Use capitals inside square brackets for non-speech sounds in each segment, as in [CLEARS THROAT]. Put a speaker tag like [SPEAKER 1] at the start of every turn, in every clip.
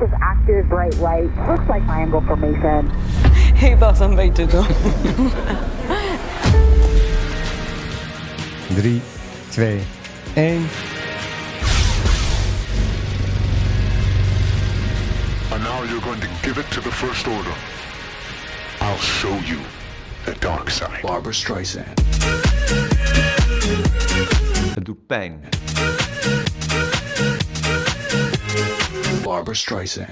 [SPEAKER 1] is active, bright white, looks like triangle formation.
[SPEAKER 2] Hey, dat een beetje
[SPEAKER 3] [LAUGHS]
[SPEAKER 2] doen.
[SPEAKER 4] 3, 2, 1.
[SPEAKER 5] And now you're going to give it to the First Order. I'll show you the dark side.
[SPEAKER 6] Barbara Streisand.
[SPEAKER 7] Het doet pijn.
[SPEAKER 6] Barbara Streisand.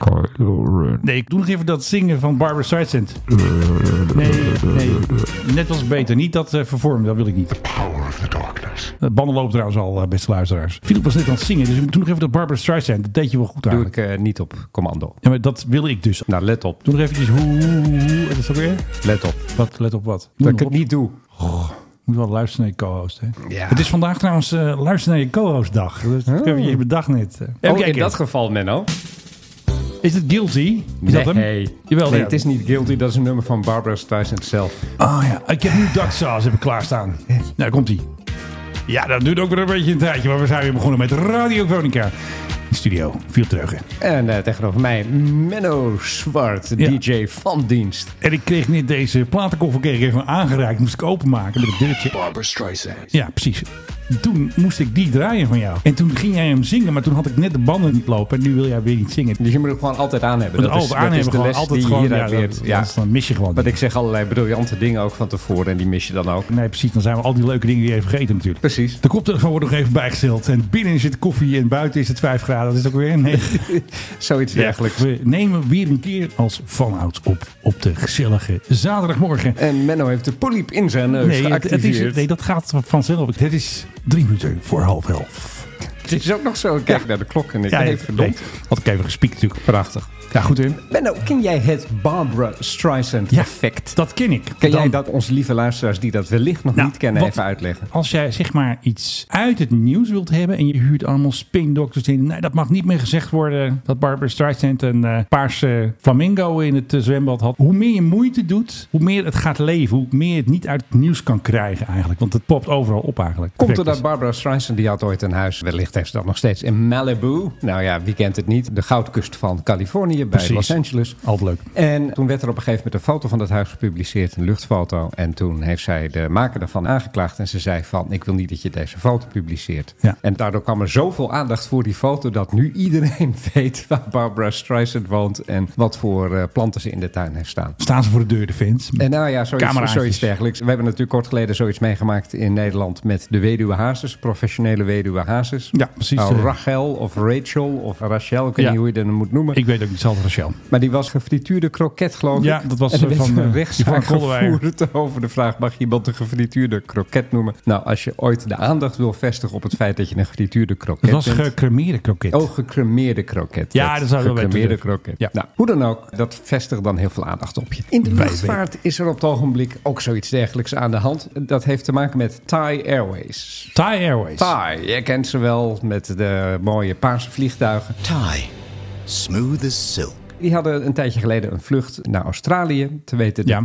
[SPEAKER 3] Nee, ik doe nog even dat zingen van Barbara Streisand. Nee, nee. Net was beter. Niet dat eh, vervormen, dat wil ik niet.
[SPEAKER 5] Power of the darkness.
[SPEAKER 3] De banden lopen trouwens al, eh, beste luisteraars. Philip was net aan het zingen, dus ik doe nog even dat Barbara Streisand. Dat deed je wel goed
[SPEAKER 4] Doe
[SPEAKER 3] eigenlijk.
[SPEAKER 4] ik eh, niet op commando.
[SPEAKER 3] Ja, maar dat wil ik dus.
[SPEAKER 4] Nou, let op.
[SPEAKER 3] Doe nog eventjes hoe, hoe, hoe. Dat is ook weer.
[SPEAKER 4] Let op.
[SPEAKER 3] Wat, let op wat.
[SPEAKER 4] Dat
[SPEAKER 3] Noem
[SPEAKER 4] ik het
[SPEAKER 3] maar op.
[SPEAKER 4] niet doe.
[SPEAKER 3] Moet wel luisteren naar je co-host, hè?
[SPEAKER 4] Ja.
[SPEAKER 3] Het is vandaag trouwens eh luisteren naar je co-host dag. Dus dat heb je je bedacht net. Even
[SPEAKER 4] Oh, in
[SPEAKER 3] kijken.
[SPEAKER 4] dat geval, Menno.
[SPEAKER 3] Is het Guilty? Is dat hem?
[SPEAKER 4] Nee.
[SPEAKER 3] Jawel,
[SPEAKER 4] nee,
[SPEAKER 3] ja.
[SPEAKER 4] het is niet Guilty. Dat is een nummer van Barbara Streisand zelf.
[SPEAKER 3] Oh ja, ik heb nu duck sauce heb ik klaarstaan. Nou, daar komt ie. Ja, dat duurt ook weer een beetje een tijdje, maar we zijn weer begonnen met Radio Veronica. Studio, viel terug.
[SPEAKER 4] En eh, tegenover mij Menno Zwart,
[SPEAKER 3] Ja.
[SPEAKER 4] DJ van dienst.
[SPEAKER 3] En ik kreeg net deze platenkoffer kreeg ik even aangereikt. Moest ik openmaken met een deurtje.
[SPEAKER 6] Barbara Streisand.
[SPEAKER 3] Ja, precies. Toen moest ik die draaien van jou. En toen ging jij hem zingen, maar toen had ik net de banden niet lopen. En nu wil jij weer niet zingen.
[SPEAKER 4] Dus je moet hem gewoon altijd aan hebben.
[SPEAKER 3] Dat altijd aan hebben, gewoon altijd
[SPEAKER 4] die je
[SPEAKER 3] gewoon.
[SPEAKER 4] hieruit
[SPEAKER 3] ja,
[SPEAKER 4] leert.
[SPEAKER 3] dat-
[SPEAKER 4] Ja.
[SPEAKER 3] dat- Dan mis je gewoon.
[SPEAKER 4] Want ik zeg allerlei briljante dingen ook van tevoren en die mis je dan ook.
[SPEAKER 3] Nee, precies. Dan zijn we al die leuke dingen die je vergeten natuurlijk.
[SPEAKER 4] Precies.
[SPEAKER 3] De koptelefoon wordt nog even bijgesteld. En binnen zit koffie en buiten is het 5 graden. Dat is ook
[SPEAKER 4] [LAUGHS]
[SPEAKER 3] weer negen.
[SPEAKER 4] Zoiets dergelijks.
[SPEAKER 3] We nemen weer een keer als vanouds op op de gezellige zaterdagmorgen.
[SPEAKER 4] En Menno heeft de poliep in zijn neus
[SPEAKER 3] Nee, het, het
[SPEAKER 4] geactiveerd.
[SPEAKER 3] is, nee, dat gaat vanzelf. Het is drie minuten voor half elf.
[SPEAKER 4] het is ook nog zo. Ik Kijk naar de klok en ik ja,
[SPEAKER 3] nee,
[SPEAKER 4] heeft verdomd.
[SPEAKER 3] nee, Had ik even gespiekt natuurlijk.
[SPEAKER 4] Prachtig.
[SPEAKER 3] Ja, goed in.
[SPEAKER 4] Menno, ken jij het Barbara Streisand
[SPEAKER 3] Ja.
[SPEAKER 4] effect?
[SPEAKER 3] Dat ken ik.
[SPEAKER 4] Ken jij
[SPEAKER 3] Dan-
[SPEAKER 4] dat onze lieve luisteraars die dat wellicht nog
[SPEAKER 3] Nou,
[SPEAKER 4] niet kennen
[SPEAKER 3] wat-
[SPEAKER 4] even uitleggen?
[SPEAKER 3] Als jij zeg maar iets uit het nieuws wilt hebben en je huurt allemaal spindokters in. Nee, dat mag niet meer gezegd worden dat Barbara Streisand een eh, paarse flamingo in het eh, zwembad had. Hoe meer je moeite doet, hoe meer het gaat leven. Hoe meer je het niet uit het nieuws kan krijgen eigenlijk. Want het popt overal op eigenlijk.
[SPEAKER 4] Komt
[SPEAKER 3] Perfect
[SPEAKER 4] doordat
[SPEAKER 3] is.
[SPEAKER 4] Barbara Streisand, die had ooit een huis, wellicht heeft ze dat nog steeds, in Malibu. Nou ja, wie kent het niet? De goudkust van Californië bij
[SPEAKER 3] Precies.
[SPEAKER 4] Los Angeles.
[SPEAKER 3] Altijd leuk.
[SPEAKER 4] En toen werd er op een gegeven moment een foto van dat huis gepubliceerd, een luchtfoto. En toen heeft zij de maker daarvan aangeklaagd. En ze zei van, ik wil niet dat je deze foto publiceert.
[SPEAKER 3] Ja.
[SPEAKER 4] En daardoor kwam er zoveel aandacht voor die foto... dat nu iedereen [LAUGHS] weet waar Barbara Streisand woont... en wat voor eh, planten ze in de tuin heeft staan.
[SPEAKER 3] Staan ze voor de deur, de fans.
[SPEAKER 4] En nou ja, zoiets,
[SPEAKER 3] Cameraatjes.
[SPEAKER 4] zoiets dergelijks. We hebben natuurlijk kort geleden zoiets meegemaakt in Nederland met de weduwe hazes, professionele weduwe hazes.
[SPEAKER 3] Ja, precies.
[SPEAKER 4] Nou,
[SPEAKER 3] Eh,
[SPEAKER 4] Rachel of Rachel of Rachel, ik weet
[SPEAKER 3] Ja.
[SPEAKER 4] niet hoe je dat moet noemen.
[SPEAKER 3] Ik weet ook niet, zelf Rachel.
[SPEAKER 4] Maar die was gefrituurde kroket, geloof ik.
[SPEAKER 3] Ja, dat was,
[SPEAKER 4] en er
[SPEAKER 3] eh,
[SPEAKER 4] werd
[SPEAKER 3] van,
[SPEAKER 4] een
[SPEAKER 3] eh,
[SPEAKER 4] rechtszaak
[SPEAKER 3] Yvonne Kollewijn.
[SPEAKER 4] gevoerd over de vraag... mag iemand een gefrituurde kroket noemen? Nou, als je ooit de aandacht wil vestigen op het feit dat je een gefrituurde kroket
[SPEAKER 3] Het was
[SPEAKER 4] bent...
[SPEAKER 3] gecremeerde kroket.
[SPEAKER 4] Oh, gecremeerde kroket.
[SPEAKER 3] Ja, dat zou ik wel weten.
[SPEAKER 4] Gecremeerde kroket.
[SPEAKER 3] Ja.
[SPEAKER 4] Nou, hoe dan ook, dat vestigt dan heel veel aandacht op je. In de
[SPEAKER 3] Wij
[SPEAKER 4] luchtvaart is er op het ogenblik ook zoiets dergelijks aan de hand. Dat heeft te maken met Thai Airways.
[SPEAKER 3] Thai Airways.
[SPEAKER 4] Thai, jij kent ze wel met de mooie paarse vliegtuigen.
[SPEAKER 8] Tie. Smooth as silk.
[SPEAKER 4] Die hadden een tijdje geleden een vlucht naar Australië. Te weten de
[SPEAKER 3] Ja.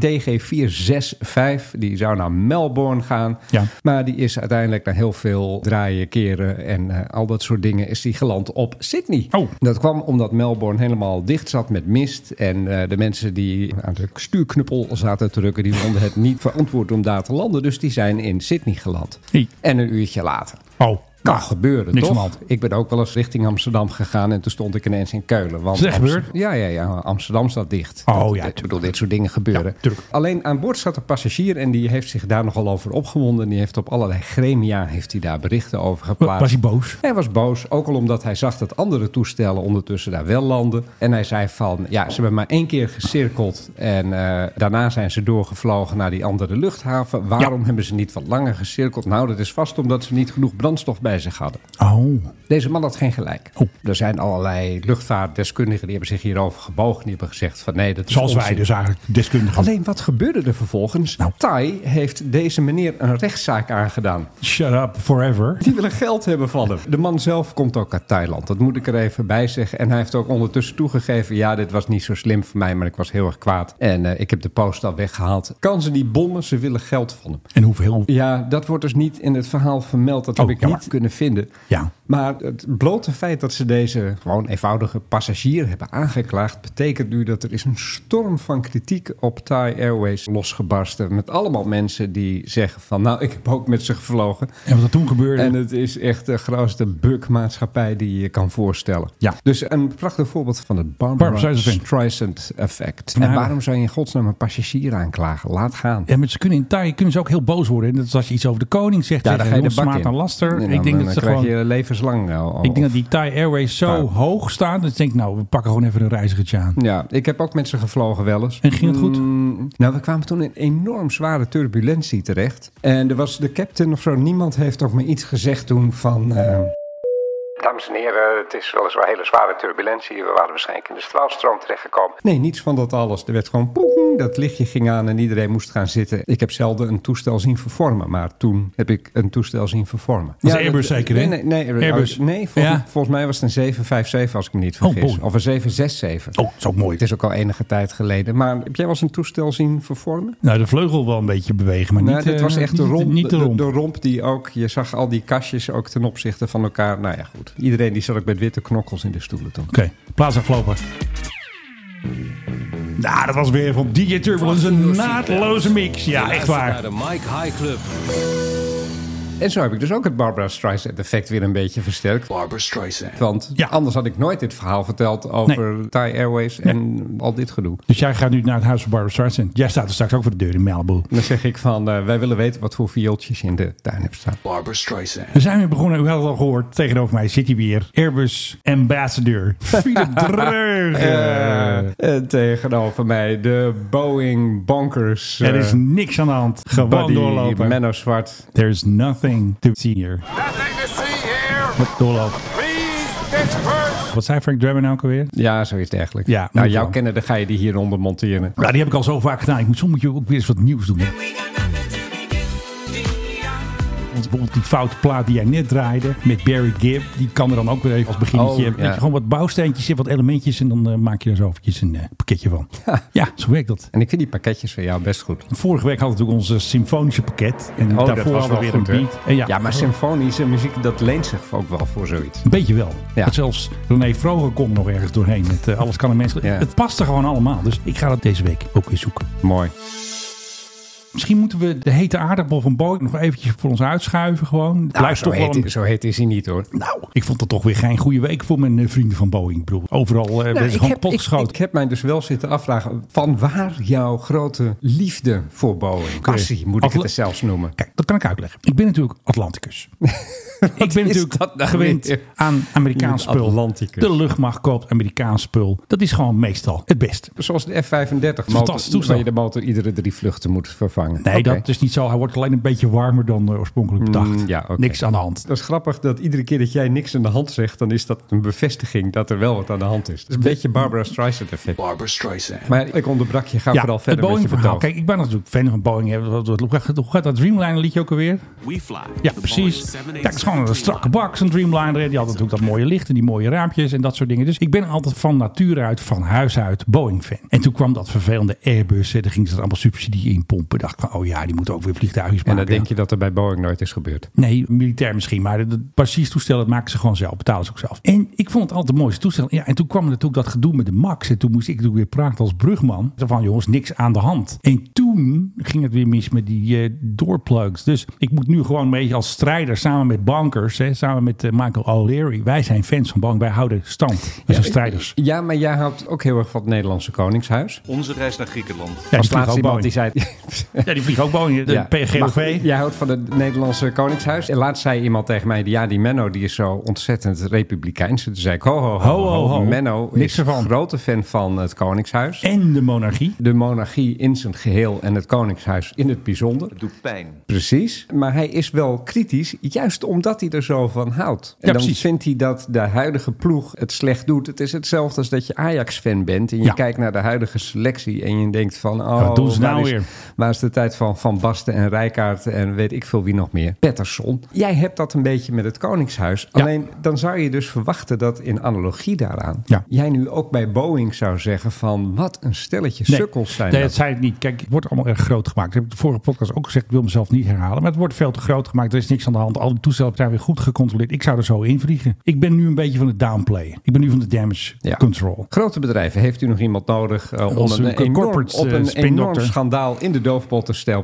[SPEAKER 4] TG465. Die zou naar Melbourne gaan.
[SPEAKER 3] Ja.
[SPEAKER 4] Maar die is uiteindelijk na heel veel draaien, keren en eh, al dat soort dingen... is die geland op Sydney.
[SPEAKER 3] Oh.
[SPEAKER 4] Dat kwam omdat Melbourne helemaal dicht zat met mist. En eh, de mensen die aan de stuurknuppel zaten te drukken... die vonden het niet verantwoord om daar te landen. Dus die zijn in Sydney geland.
[SPEAKER 3] Hey.
[SPEAKER 4] En een uurtje later.
[SPEAKER 3] Oh,
[SPEAKER 4] Kan gebeuren,
[SPEAKER 3] niks
[SPEAKER 4] toch?
[SPEAKER 3] aan de hand.
[SPEAKER 4] Ik ben ook wel eens richting Amsterdam gegaan en toen stond ik ineens in Keulen. Want
[SPEAKER 3] Is het echt
[SPEAKER 4] Amst-
[SPEAKER 3] gebeurd?
[SPEAKER 4] Ja, ja, ja. Amsterdam staat dicht.
[SPEAKER 3] Oh, ja,
[SPEAKER 4] Dat- eh, Ik
[SPEAKER 3] tuurlijk.
[SPEAKER 4] bedoel, dit soort dingen gebeuren.
[SPEAKER 3] Ja, tuurlijk.
[SPEAKER 4] Alleen aan boord zat een passagier en die heeft zich daar nogal over opgewonden. Die heeft op allerlei gremia heeft hij daar berichten over geplaatst.
[SPEAKER 3] was hij boos?
[SPEAKER 4] Hij was boos, ook al omdat hij zag dat andere toestellen ondertussen daar wel landen. En hij zei van, ja, ze hebben maar één keer gecirkeld en eh, daarna zijn ze doorgevlogen naar die andere luchthaven. Waarom hebben ze niet wat langer gecirkeld? Nou, dat is vast omdat ze niet genoeg brandstof bij zich hadden.
[SPEAKER 3] Oh,
[SPEAKER 4] Deze man had geen gelijk. Er zijn allerlei luchtvaartdeskundigen die hebben zich hierover gebogen. Die hebben gezegd van nee, dat is
[SPEAKER 3] zoals wij
[SPEAKER 4] onzin.
[SPEAKER 3] dus eigenlijk deskundigen.
[SPEAKER 4] Alleen wat gebeurde er vervolgens? Nou. Thai heeft deze meneer een rechtszaak aangedaan.
[SPEAKER 3] Shut up forever.
[SPEAKER 4] Die willen geld hebben van hem. De man zelf komt ook uit Thailand. Dat moet ik er even bij zeggen. En hij heeft ook ondertussen toegegeven... ja, dit was niet zo slim voor mij, maar ik was heel erg kwaad. En eh, ik heb de post al weggehaald. Kan ze niet bommen? Ze willen geld van hem.
[SPEAKER 3] En hoeveel?
[SPEAKER 4] Ja, dat wordt dus niet in het verhaal vermeld. Dat heb
[SPEAKER 3] Oh,
[SPEAKER 4] ik
[SPEAKER 3] jammer.
[SPEAKER 4] niet kunnen vinden.
[SPEAKER 3] Ja.
[SPEAKER 4] Maar het blote feit dat ze deze gewoon eenvoudige passagier hebben aangeklaagd, betekent nu dat er is een storm van kritiek op Thai Airways losgebarsten. Met allemaal mensen die zeggen van nou, ik heb ook met ze gevlogen.
[SPEAKER 3] En wat er toen gebeurde.
[SPEAKER 4] En het is echt de grootste bukmaatschappij die je kan voorstellen.
[SPEAKER 3] Ja.
[SPEAKER 4] Dus een prachtig voorbeeld van het Barbara,
[SPEAKER 3] Barbra Streisand. Nou,
[SPEAKER 4] Streisand effect.
[SPEAKER 3] haar-
[SPEAKER 4] En waarom zou je in godsnaam een passagier aanklagen? Laat gaan.
[SPEAKER 3] Ja, maar ze kunnen in Thailand kunnen ze ook heel boos worden. En Dat is als je iets over de koning zegt,
[SPEAKER 4] Ja,
[SPEAKER 3] ja,
[SPEAKER 4] daar ga je de bak
[SPEAKER 3] smaad
[SPEAKER 4] in.
[SPEAKER 3] naar laster.
[SPEAKER 4] Nee,
[SPEAKER 3] ik
[SPEAKER 4] dan-
[SPEAKER 3] denk
[SPEAKER 4] dan
[SPEAKER 3] dat ze
[SPEAKER 4] krijg
[SPEAKER 3] gewoon...
[SPEAKER 4] je levenslang. eh, al- al-
[SPEAKER 3] Ik denk dat die Thai Airways zo
[SPEAKER 4] Ja.
[SPEAKER 3] hoog staan. Dat ik denk, nou, we pakken gewoon even een reizigertje aan.
[SPEAKER 4] Ja, ik heb ook met ze gevlogen wel eens.
[SPEAKER 3] En ging het goed?
[SPEAKER 4] Mm, nou, we kwamen toen in enorm zware turbulentie terecht. En er was de captain of zo. Niemand heeft ook maar iets gezegd toen van... eh, Dames en heren, het is weliswaar hele zware turbulentie. We waren waarschijnlijk in de straalstroom terechtgekomen. Nee, niets van dat alles. Er werd gewoon poeng, dat lichtje ging aan en iedereen moest gaan zitten. Ik heb zelden een toestel zien vervormen, maar toen heb ik een toestel zien vervormen.
[SPEAKER 3] Dat is Airbus zeker, hè?
[SPEAKER 4] Nee, nee, nee,
[SPEAKER 3] Airbus.
[SPEAKER 4] nee volgens,
[SPEAKER 3] Ja. Oh,
[SPEAKER 4] volgens mij was het een 757 als ik me niet vergis.
[SPEAKER 3] boy.
[SPEAKER 4] of een 767.
[SPEAKER 3] Oh, dat is ook mooi.
[SPEAKER 4] Het is ook al enige tijd geleden. Maar heb jij wel eens een toestel zien vervormen?
[SPEAKER 3] Nou, de vleugel wel een beetje bewegen, maar
[SPEAKER 4] Nou,
[SPEAKER 3] niet,
[SPEAKER 4] dit
[SPEAKER 3] eh,
[SPEAKER 4] was echt
[SPEAKER 3] niet,
[SPEAKER 4] de romp.
[SPEAKER 3] Niet de romp.
[SPEAKER 4] De, romp die ook... Je zag al die kastjes ook ten opzichte van elkaar. Nou ja, goed. Iedereen die zat ook met witte knokkels in de stoelen toen.
[SPEAKER 3] Oké, plaats afgelopen. Nou, dat was weer van DJ Turbulence een naadloze mix. Ja, echt waar.
[SPEAKER 7] De Mike High Club.
[SPEAKER 4] En zo heb ik dus ook het Barbara Streisand effect weer een beetje versterkt.
[SPEAKER 6] Barbara Streisand.
[SPEAKER 4] Want
[SPEAKER 3] Ja.
[SPEAKER 4] anders had ik nooit dit verhaal verteld over Thai Airways en al dit gedoe.
[SPEAKER 3] Dus jij gaat nu naar het huis van Barbara Streisand. Jij staat er straks ook voor de deur in Malibu.
[SPEAKER 4] Dan zeg ik van, eh, wij willen weten wat voor viooltjes je in de tuin hebt staan.
[SPEAKER 6] Barbara Streisand.
[SPEAKER 3] We zijn weer begonnen, u had het al gehoord. Tegenover mij zit hij weer. Airbus Ambassadeur. Philip Dreugen.
[SPEAKER 4] En Eh, tegenover mij de Boeing bonkers.
[SPEAKER 3] er
[SPEAKER 4] eh,
[SPEAKER 3] is niks aan de hand. Gewoon
[SPEAKER 4] buddy
[SPEAKER 3] doorlopen.
[SPEAKER 4] Menno Zwart.
[SPEAKER 3] There's nothing to see here.
[SPEAKER 5] Nothing to see here.
[SPEAKER 3] Doorlopen.
[SPEAKER 5] Please disperse.
[SPEAKER 3] Wat zei Frank Drebin nou ook alweer?
[SPEAKER 4] Ja, zoiets dergelijks.
[SPEAKER 3] Ja,
[SPEAKER 4] nou,
[SPEAKER 3] moet
[SPEAKER 4] jouw
[SPEAKER 3] wel.
[SPEAKER 4] kennen, dan ga je die hieronder monteren.
[SPEAKER 3] Ja, die heb ik al zo vaak gedaan. Ik moet, soms moet je ook weer eens wat nieuws doen. hè. Want bijvoorbeeld die foute plaat die jij net draaide met Barry Gibb, die kan er dan ook weer even als beginnetje
[SPEAKER 4] Oh,
[SPEAKER 3] hebben. Dat
[SPEAKER 4] ja.
[SPEAKER 3] je gewoon wat bouwsteentjes in, wat elementjes en dan eh, maak je daar zo eventjes een eh, pakketje van. Ja. zo werkt dat.
[SPEAKER 4] En ik vind die pakketjes van jou best goed.
[SPEAKER 3] Vorige week hadden we natuurlijk ons eh, symfonische pakket
[SPEAKER 4] Oh,
[SPEAKER 3] en Oh, daarvoor hadden we weer een
[SPEAKER 4] hè?
[SPEAKER 3] beat. En
[SPEAKER 4] ja. maar symfonische muziek, dat leent zich ook wel voor zoiets.
[SPEAKER 3] Een beetje wel.
[SPEAKER 4] Ja.
[SPEAKER 3] Want zelfs René Vroger komt nog ergens doorheen. Het, eh, alles kan een mens.
[SPEAKER 4] Ja.
[SPEAKER 3] Het past er gewoon allemaal. Dus ik ga dat deze week ook weer zoeken.
[SPEAKER 4] Mooi.
[SPEAKER 3] Misschien moeten we de hete aardappel van Boeing nog eventjes voor ons uitschuiven gewoon. Het
[SPEAKER 4] Nou,
[SPEAKER 3] blijft
[SPEAKER 4] zo,
[SPEAKER 3] toch wel
[SPEAKER 4] heet,
[SPEAKER 3] een-
[SPEAKER 4] zo heet is hij niet hoor.
[SPEAKER 3] Nou, ik vond het toch weer geen goede week voor mijn eh, vrienden van Boeing. Ik bedoel, overal eh
[SPEAKER 4] Nou,
[SPEAKER 3] werden ze
[SPEAKER 4] ik,
[SPEAKER 3] gewoon
[SPEAKER 4] heb, ik,
[SPEAKER 3] potgeschoten.
[SPEAKER 4] ik heb mij dus wel zitten afvragen van waar jouw grote liefde voor Boeing, passie moet ik
[SPEAKER 3] Afle-
[SPEAKER 4] het er zelfs noemen.
[SPEAKER 3] Kijk, dat kan ik uitleggen. Ik ben natuurlijk
[SPEAKER 4] [LAUGHS]
[SPEAKER 3] Atlanticus. ik ben natuurlijk
[SPEAKER 4] dat nou
[SPEAKER 3] gewend
[SPEAKER 4] weer?
[SPEAKER 3] aan Amerikaans
[SPEAKER 4] Je bent
[SPEAKER 3] spul.
[SPEAKER 4] Atlanticus.
[SPEAKER 3] De luchtmacht koopt Amerikaans spul. Dat is gewoon meestal het beste.
[SPEAKER 4] Zoals de F-35
[SPEAKER 3] Fantastisch
[SPEAKER 4] motor,
[SPEAKER 3] toestel.
[SPEAKER 4] waar je de motor iedere drie vluchten moet vervangen.
[SPEAKER 3] Nee,
[SPEAKER 4] Oké. Mm,
[SPEAKER 3] dat is niet zo. Hij wordt alleen een beetje warmer dan eh, oorspronkelijk bedacht.
[SPEAKER 4] ja, oké.
[SPEAKER 3] Niks aan de hand.
[SPEAKER 4] Dat is grappig dat iedere keer dat jij niks aan de hand zegt, dan is dat een bevestiging dat er wel wat aan de hand is. Dat is een beetje Barbara Streisand effect.
[SPEAKER 6] Barbara Streisand.
[SPEAKER 4] Maar ik onderbrak je, ga vooral
[SPEAKER 3] het
[SPEAKER 4] verder met je
[SPEAKER 3] Boeing-verhaal.
[SPEAKER 4] verhaal.
[SPEAKER 3] Kijk, ik ben natuurlijk fan van Boeing. hè. Wat- wat- Hoe gaat- hoe gaat dat Dreamliner-liedje ook alweer?
[SPEAKER 7] We fly.
[SPEAKER 3] Ja, precies. Kijk, het is gewoon een strakke bak, zo'n Dreamliner. Die had natuurlijk dat mooie licht en die mooie raampjes en dat soort dingen. Dus ik ben altijd van natuur uit, van huis uit, Boeing-fan. En toen kwam dat vervelende Airbus. hè, Daar gingen ze dat allemaal subsidie in pompen. Dacht ik van, oh ja, die moeten ook weer vliegtuigjes maken.
[SPEAKER 4] en dan denk je dat er bij Boeing nooit is gebeurd.
[SPEAKER 3] Nee, militair misschien, maar het passierstoestel dat maken ze gewoon zelf, betalen ze ook zelf. En ik vond het altijd het mooiste toestel. Ja, en toen kwam er natuurlijk dat gedoe met de Max. En toen moest ik natuurlijk weer praten als brugman. Zo van, jongens, niks aan de hand. En toen ging het weer mis met die eh, doorplugs. Dus ik moet nu gewoon een beetje als strijder samen met bankers, hè, samen met eh, Michael O'Leary. Wij zijn fans van bank, wij houden stand. Wij zijn strijders.
[SPEAKER 4] Ja, maar jij houdt ook heel erg van het Nederlandse Koningshuis.
[SPEAKER 7] Onze reis naar Griekenland.
[SPEAKER 3] Ja,
[SPEAKER 4] Als
[SPEAKER 3] die vliegen
[SPEAKER 4] laatste
[SPEAKER 3] ook
[SPEAKER 4] iemand die
[SPEAKER 3] Boeing.
[SPEAKER 4] zei...
[SPEAKER 3] Ja, die vliegen ook Boeing. [LAUGHS] De
[SPEAKER 4] Ja,
[SPEAKER 3] PGOV.
[SPEAKER 4] maar Jij houdt van het Nederlandse Koningshuis. En laatst zei iemand tegen mij, ja, die Menno die is zo ontzettend republikeins. Toen zei ik, ho, ho, ho,
[SPEAKER 3] Ho, ho, ho.
[SPEAKER 4] Menno
[SPEAKER 3] Niks
[SPEAKER 4] is een
[SPEAKER 3] ervan.
[SPEAKER 4] grote fan van het Koningshuis.
[SPEAKER 3] En de monarchie.
[SPEAKER 4] de monarchie in zijn geheel en het koningshuis in het bijzonder.
[SPEAKER 7] Het doet pijn.
[SPEAKER 4] Precies. Maar hij is wel kritisch, juist omdat hij er zo van houdt. En
[SPEAKER 3] Ja,
[SPEAKER 4] dan
[SPEAKER 3] precies.
[SPEAKER 4] vindt hij dat de huidige ploeg het slecht doet. Het is hetzelfde als dat je Ajax-fan bent en je
[SPEAKER 3] Ja.
[SPEAKER 4] kijkt naar de huidige selectie en je denkt van... Oh,
[SPEAKER 3] doen ze
[SPEAKER 4] waar
[SPEAKER 3] nou
[SPEAKER 4] is-
[SPEAKER 3] weer?
[SPEAKER 4] Waar is de de tijd van Van Basten en Rijkaard en weet ik veel wie nog meer. Pettersson. Jij hebt dat een beetje met het Koningshuis.
[SPEAKER 3] Ja.
[SPEAKER 4] Alleen dan zou je dus verwachten dat in analogie daaraan
[SPEAKER 3] Ja.
[SPEAKER 4] jij nu ook bij Boeing zou zeggen van wat een stelletje sukkels zijn
[SPEAKER 3] Nee,
[SPEAKER 4] dat.
[SPEAKER 3] dat zei ik niet. Kijk, het wordt allemaal erg groot gemaakt. Dat heb ik de vorige podcast ook gezegd. Ik wil mezelf niet herhalen. Maar het wordt veel te groot gemaakt. Er is niks aan de hand. Al die toestellen zijn weer goed gecontroleerd. Ik zou er zo in vliegen. Ik ben nu een beetje van het downplayen. Ik ben nu van de damage
[SPEAKER 4] Ja.
[SPEAKER 3] control.
[SPEAKER 4] Grote bedrijven, heeft u nog iemand nodig eh, om
[SPEAKER 3] Als
[SPEAKER 4] een,
[SPEAKER 3] een
[SPEAKER 4] enorm-
[SPEAKER 3] corporate,
[SPEAKER 4] op
[SPEAKER 3] eh,
[SPEAKER 4] een enorm
[SPEAKER 3] spindokter.
[SPEAKER 4] schandaal in de doofpot te stelpen?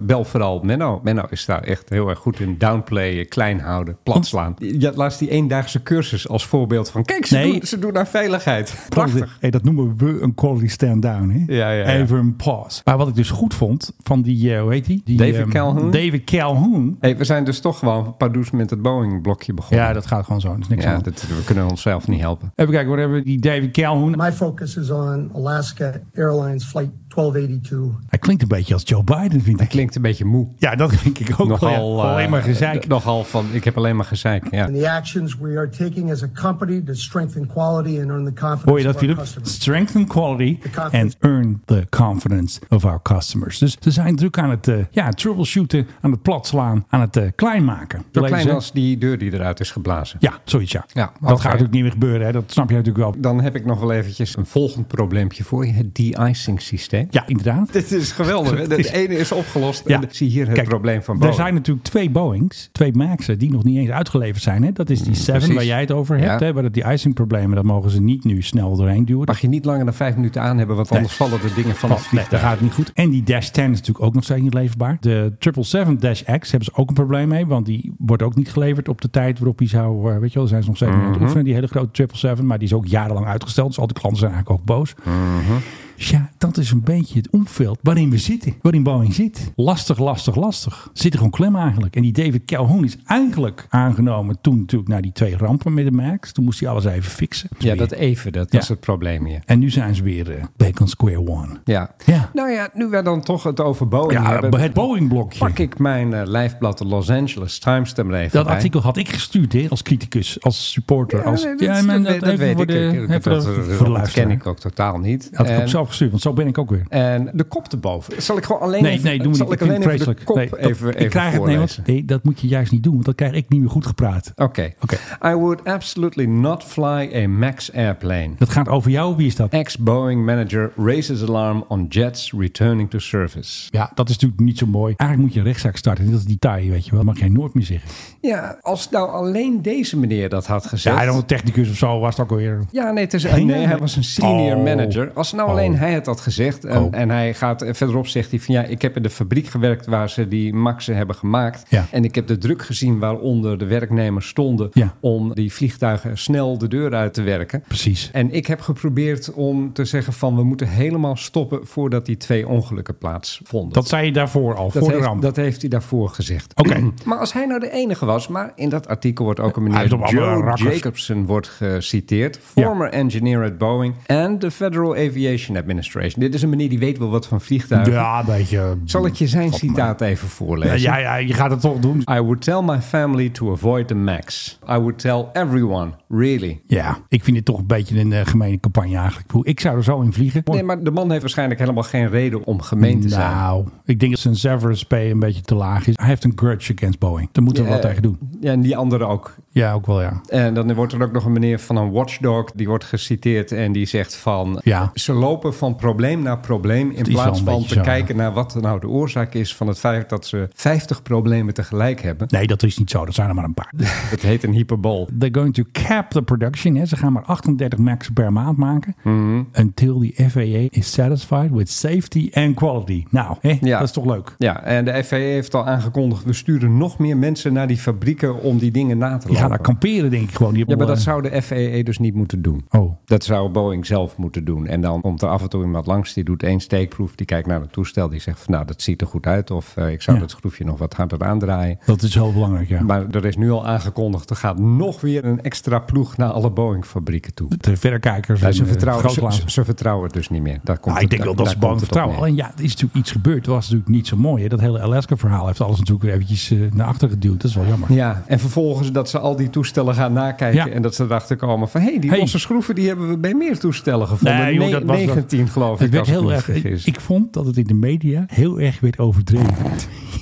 [SPEAKER 4] Bel vooral Menno. Menno is daar echt heel erg goed in. Downplayen, klein houden, plat slaan. Ja, laatst die eendaagse cursus als voorbeeld van... Kijk, ze,
[SPEAKER 3] Nee.
[SPEAKER 4] doen, ze doen naar
[SPEAKER 3] [LAUGHS]
[SPEAKER 4] veiligheid. Prachtig.
[SPEAKER 3] Hey, dat noemen we een quality stand-down. hè?
[SPEAKER 4] Ja, ja, ja.
[SPEAKER 3] Even een pause. Maar wat ik dus goed vond van die, eh, hoe heet die? die
[SPEAKER 4] David
[SPEAKER 3] ehm,
[SPEAKER 4] Calhoun?
[SPEAKER 3] David Calhoun.
[SPEAKER 4] Hey, we zijn dus toch gewoon Pardoes met het Boeing-blokje begonnen.
[SPEAKER 3] Ja, dat gaat gewoon zo. Er is niks aan.
[SPEAKER 4] ja
[SPEAKER 3] de hand.
[SPEAKER 4] dat, we kunnen onszelf niet helpen.
[SPEAKER 3] Even kijken, wat hebben we? Die David Calhoun.
[SPEAKER 9] My focus is on Alaska Airlines Flight 1282.
[SPEAKER 3] Hij klinkt een beetje als Joe Biden, vind
[SPEAKER 4] Hij
[SPEAKER 3] ik.
[SPEAKER 4] klinkt een beetje moe.
[SPEAKER 3] Ja, dat denk ik ook wel.
[SPEAKER 4] Nogal, eh,
[SPEAKER 3] Alleen maar gezeik.
[SPEAKER 4] d- Nogal van, ik heb alleen maar gezeik. Ja.
[SPEAKER 9] And the actions we are taking as a company to strengthen quality and earn the confidence
[SPEAKER 3] Hoor je dat,
[SPEAKER 9] of our
[SPEAKER 3] Philip?
[SPEAKER 9] customers.
[SPEAKER 3] Strengthen quality and
[SPEAKER 9] confidence.
[SPEAKER 3] earn the confidence of our customers. Dus ze zijn druk aan het eh, ja, troubleshooten, aan het platslaan, aan het eh, kleinmaken.
[SPEAKER 4] Zo
[SPEAKER 3] Lezen
[SPEAKER 4] klein
[SPEAKER 3] ze?
[SPEAKER 4] als die deur die eruit is geblazen.
[SPEAKER 3] Ja, zoiets ja.
[SPEAKER 4] Ja, oké.
[SPEAKER 3] dat gaat natuurlijk niet meer gebeuren, hè. dat snap je natuurlijk wel.
[SPEAKER 4] Dan heb ik nog wel eventjes een volgend probleempje voor je. Het de-icing systeem.
[SPEAKER 3] Ja,
[SPEAKER 4] [LAUGHS]
[SPEAKER 3] inderdaad.
[SPEAKER 4] Dit is geweldig. hè?
[SPEAKER 3] [LAUGHS]
[SPEAKER 4] Het ene is opgelost.
[SPEAKER 3] Ja.
[SPEAKER 4] En zie hier het
[SPEAKER 3] Kijk,
[SPEAKER 4] probleem van
[SPEAKER 3] Er
[SPEAKER 4] Boeing.
[SPEAKER 3] zijn natuurlijk twee Boeings, twee Max'en, die nog niet eens uitgeleverd zijn. Hè? Dat is die 7 waar
[SPEAKER 4] Mm, precies.
[SPEAKER 3] jij het over hebt.
[SPEAKER 4] Ja.
[SPEAKER 3] Hè? Waar dat die icingproblemen, dat mogen ze niet nu snel doorheen duwen.
[SPEAKER 4] Mag je niet langer dan vijf minuten aan hebben, want anders vallen de dingen van het
[SPEAKER 3] Nee, daar
[SPEAKER 4] vliegtuig.
[SPEAKER 3] gaat het niet goed. En die Dash 10 is natuurlijk ook nog steeds niet leverbaar. De 777-X hebben ze ook een probleem mee. Want die wordt ook niet geleverd op de tijd waarop die zou... eh, Weet je wel, daar zijn ze nog steeds mee
[SPEAKER 4] Mhm.
[SPEAKER 3] aan het oefenen. Die hele grote 777. Maar die is ook jarenlang uitgesteld. Dus al die klanten zijn eigenlijk ook boos.
[SPEAKER 4] Mhm.
[SPEAKER 3] Dus ja, dat is een beetje het omveld waarin we zitten. Waarin Boeing zit. Lastig, lastig, lastig. Zit er gewoon klem eigenlijk. En die David Calhoun is eigenlijk aangenomen toen natuurlijk na die twee rampen met de MAX. Toen moest hij alles even fixen.
[SPEAKER 4] Ja, dat even. Dat
[SPEAKER 3] Ja.
[SPEAKER 4] was het probleem hier.
[SPEAKER 3] En nu zijn ze weer eh, back on square one.
[SPEAKER 4] Ja.
[SPEAKER 3] Ja.
[SPEAKER 4] Nou ja, nu we dan toch het over Boeing
[SPEAKER 3] Ja,
[SPEAKER 4] hebben.
[SPEAKER 3] het Boeing-blokje.
[SPEAKER 4] Pak ik mijn eh, lijfblad de Los Angeles Times er maar even
[SPEAKER 3] Dat
[SPEAKER 4] bij.
[SPEAKER 3] artikel had ik gestuurd hè, als criticus, als supporter.
[SPEAKER 4] Ja,
[SPEAKER 3] als,
[SPEAKER 4] nee, dat, dat
[SPEAKER 3] maar
[SPEAKER 4] weet- dat
[SPEAKER 3] even
[SPEAKER 4] weet
[SPEAKER 3] voor
[SPEAKER 4] ik.
[SPEAKER 3] de-
[SPEAKER 4] Ik-
[SPEAKER 3] even
[SPEAKER 4] ik- Dat,
[SPEAKER 3] voor de
[SPEAKER 4] dat
[SPEAKER 3] luisteraar.
[SPEAKER 4] ken ik ook Ehm, totaal niet.
[SPEAKER 3] Had ik
[SPEAKER 4] En-
[SPEAKER 3] op zelf gestuurd, want zo ben ik ook weer.
[SPEAKER 4] En de kop erboven. Zal ik gewoon alleen
[SPEAKER 3] Nee,
[SPEAKER 4] even,
[SPEAKER 3] nee, doe me
[SPEAKER 4] zal
[SPEAKER 3] niet. Ik
[SPEAKER 4] ik
[SPEAKER 3] vind
[SPEAKER 4] alleen
[SPEAKER 3] het
[SPEAKER 4] even de
[SPEAKER 3] vreselijk.
[SPEAKER 4] kop
[SPEAKER 3] Nee, dat-
[SPEAKER 4] even, even
[SPEAKER 3] ik krijg het, nee,
[SPEAKER 4] voorlezen?
[SPEAKER 3] want, nee, dat moet je juist niet doen, want dan krijg ik niet meer goed gepraat.
[SPEAKER 4] Oké.
[SPEAKER 3] Oké.
[SPEAKER 4] I would absolutely not fly a MAX airplane.
[SPEAKER 3] Dat gaat over jou, wie is dat?
[SPEAKER 4] Ex-Boeing manager raises alarm on jets returning to service.
[SPEAKER 3] Ja, dat is natuurlijk niet zo mooi. Eigenlijk moet je een rechtszaak starten. Dat is die taai, weet je wel. Dat mag jij nooit meer zeggen.
[SPEAKER 4] Ja, als nou alleen deze meneer dat had gezegd.
[SPEAKER 3] Ja, dan een technicus of zo was het ook alweer.
[SPEAKER 4] Ja, nee, het is, nee, hij was een senior
[SPEAKER 3] Oh.
[SPEAKER 4] manager. Als nou alleen
[SPEAKER 3] Oh.
[SPEAKER 4] hij het had gezegd en,
[SPEAKER 3] Oh.
[SPEAKER 4] en hij gaat eh, verderop, zegt hij van ja, ik heb in de fabriek gewerkt waar ze die maxen hebben gemaakt.
[SPEAKER 3] Ja.
[SPEAKER 4] En ik heb de druk gezien waaronder de werknemers stonden
[SPEAKER 3] Ja.
[SPEAKER 4] om die vliegtuigen snel de deur uit te werken.
[SPEAKER 3] Precies.
[SPEAKER 4] En ik heb geprobeerd om te zeggen van we moeten helemaal stoppen voordat die twee ongelukken plaatsvonden.
[SPEAKER 3] Dat zei je daarvoor al, voor de
[SPEAKER 4] heeft,
[SPEAKER 3] ramp.
[SPEAKER 4] dat heeft hij daarvoor gezegd.
[SPEAKER 3] Oké.
[SPEAKER 4] [CLEARS THROAT] Maar als hij nou de enige was, maar in dat artikel wordt ook een
[SPEAKER 3] Hij is
[SPEAKER 4] meneer
[SPEAKER 3] op alle
[SPEAKER 4] Joe
[SPEAKER 3] rakkers.
[SPEAKER 4] Jacobson wordt geciteerd,
[SPEAKER 3] Ja.
[SPEAKER 4] former engineer at Boeing en de Federal Aviation Administration. Dit is een meneer die weet wel wat van vliegtuigen.
[SPEAKER 3] ja, een beetje.
[SPEAKER 4] Zal ik je zijn
[SPEAKER 3] Valt me.
[SPEAKER 4] citaat even
[SPEAKER 3] Ja,
[SPEAKER 4] voorlezen?
[SPEAKER 3] ja, ja, je gaat het toch doen.
[SPEAKER 4] I would tell my family to avoid the max. I would tell everyone, really.
[SPEAKER 3] Ja, ik vind dit toch een beetje een eh, gemene campagne eigenlijk. Ik bedoel, Ik zou er zo in vliegen.
[SPEAKER 4] Nee, maar de man heeft waarschijnlijk helemaal geen reden om gemeen te zijn.
[SPEAKER 3] Nou, ik denk dat zijn severance pay een beetje te laag is. Hij heeft een grudge against Boeing. Daar moeten we wat tegen doen.
[SPEAKER 4] Ja, en die andere ook.
[SPEAKER 3] Ja, ook wel ja.
[SPEAKER 4] En dan wordt er ook nog een meneer van een watchdog, die wordt geciteerd en die zegt van...
[SPEAKER 3] Ja.
[SPEAKER 4] Ze lopen van probleem naar probleem in
[SPEAKER 3] is wel
[SPEAKER 4] plaats
[SPEAKER 3] een
[SPEAKER 4] van
[SPEAKER 3] beetje
[SPEAKER 4] te
[SPEAKER 3] zo, ja.
[SPEAKER 4] kijken naar wat nou de oorzaak is van het feit dat ze 50 problemen tegelijk
[SPEAKER 3] [LAUGHS]
[SPEAKER 4] hebben.
[SPEAKER 3] Nee, dat is niet zo. Dat zijn er maar een
[SPEAKER 4] [LAUGHS]
[SPEAKER 3] paar.
[SPEAKER 4] Het heet een hyperbol.
[SPEAKER 3] They're going to cap the production. Hè. Ze gaan maar 38 max per maand maken.
[SPEAKER 4] Mhm.
[SPEAKER 3] Until the FAA is satisfied with safety and quality. Nou, hè,
[SPEAKER 4] Ja.
[SPEAKER 3] dat is toch leuk?
[SPEAKER 4] Ja, en de FAA heeft al aangekondigd, we sturen nog meer mensen naar die fabrieken om die dingen na te
[SPEAKER 3] Die
[SPEAKER 4] lopen.
[SPEAKER 3] gaan daar kamperen, denk ik gewoon. Die
[SPEAKER 4] Ja, maar
[SPEAKER 3] hebben
[SPEAKER 4] dat
[SPEAKER 3] wel,
[SPEAKER 4] zou de FAA dus niet moeten doen.
[SPEAKER 3] eh, Oh,
[SPEAKER 4] Dat zou Boeing zelf moeten doen. En dan komt er af en toe iemand langs, die doet één steekproef, die kijkt naar het toestel, die zegt van nou, dat ziet er goed uit of eh, ik zou
[SPEAKER 3] Ja.
[SPEAKER 4] dat schroefje nog wat harder aandraaien.
[SPEAKER 3] dat is heel belangrijk, ja.
[SPEAKER 4] Maar er is nu al aangekondigd, er gaat nog weer een extra ploeg naar alle Boeing-fabrieken toe.
[SPEAKER 3] de verrekijkers.
[SPEAKER 4] Ja,
[SPEAKER 3] en,
[SPEAKER 4] ze,
[SPEAKER 3] eh,
[SPEAKER 4] vertrouwen,
[SPEAKER 3] grootglazen.
[SPEAKER 4] ze, ze vertrouwen het dus niet meer. Daar komt
[SPEAKER 3] Nou,
[SPEAKER 4] het-
[SPEAKER 3] ik denk wel
[SPEAKER 4] daar-
[SPEAKER 3] dat ze
[SPEAKER 4] daar
[SPEAKER 3] bang
[SPEAKER 4] komt het op
[SPEAKER 3] vertrouwen.
[SPEAKER 4] neer.
[SPEAKER 3] Alleen ja, er is natuurlijk iets gebeurd. Het was natuurlijk niet zo mooi. Hè? Dat hele Alaska-verhaal heeft alles natuurlijk weer eventjes eh, naar achter geduwd. Dat is wel jammer.
[SPEAKER 4] Ja, en vervolgens dat ze al die toestellen gaan nakijken.
[SPEAKER 3] Ja.
[SPEAKER 4] En dat ze erachter komen van... hé, hey, die
[SPEAKER 3] Hey.
[SPEAKER 4] losse schroeven die hebben we bij meer toestellen gevonden.
[SPEAKER 3] Nee, joh, dat
[SPEAKER 4] Ne-
[SPEAKER 3] was-
[SPEAKER 4] 19 geloof
[SPEAKER 3] Het
[SPEAKER 4] ik,
[SPEAKER 3] werd
[SPEAKER 4] als ik
[SPEAKER 3] heel
[SPEAKER 4] me niet
[SPEAKER 3] erg. Ik,
[SPEAKER 4] vergis.
[SPEAKER 3] ik vond dat het in de media heel erg werd overdreven.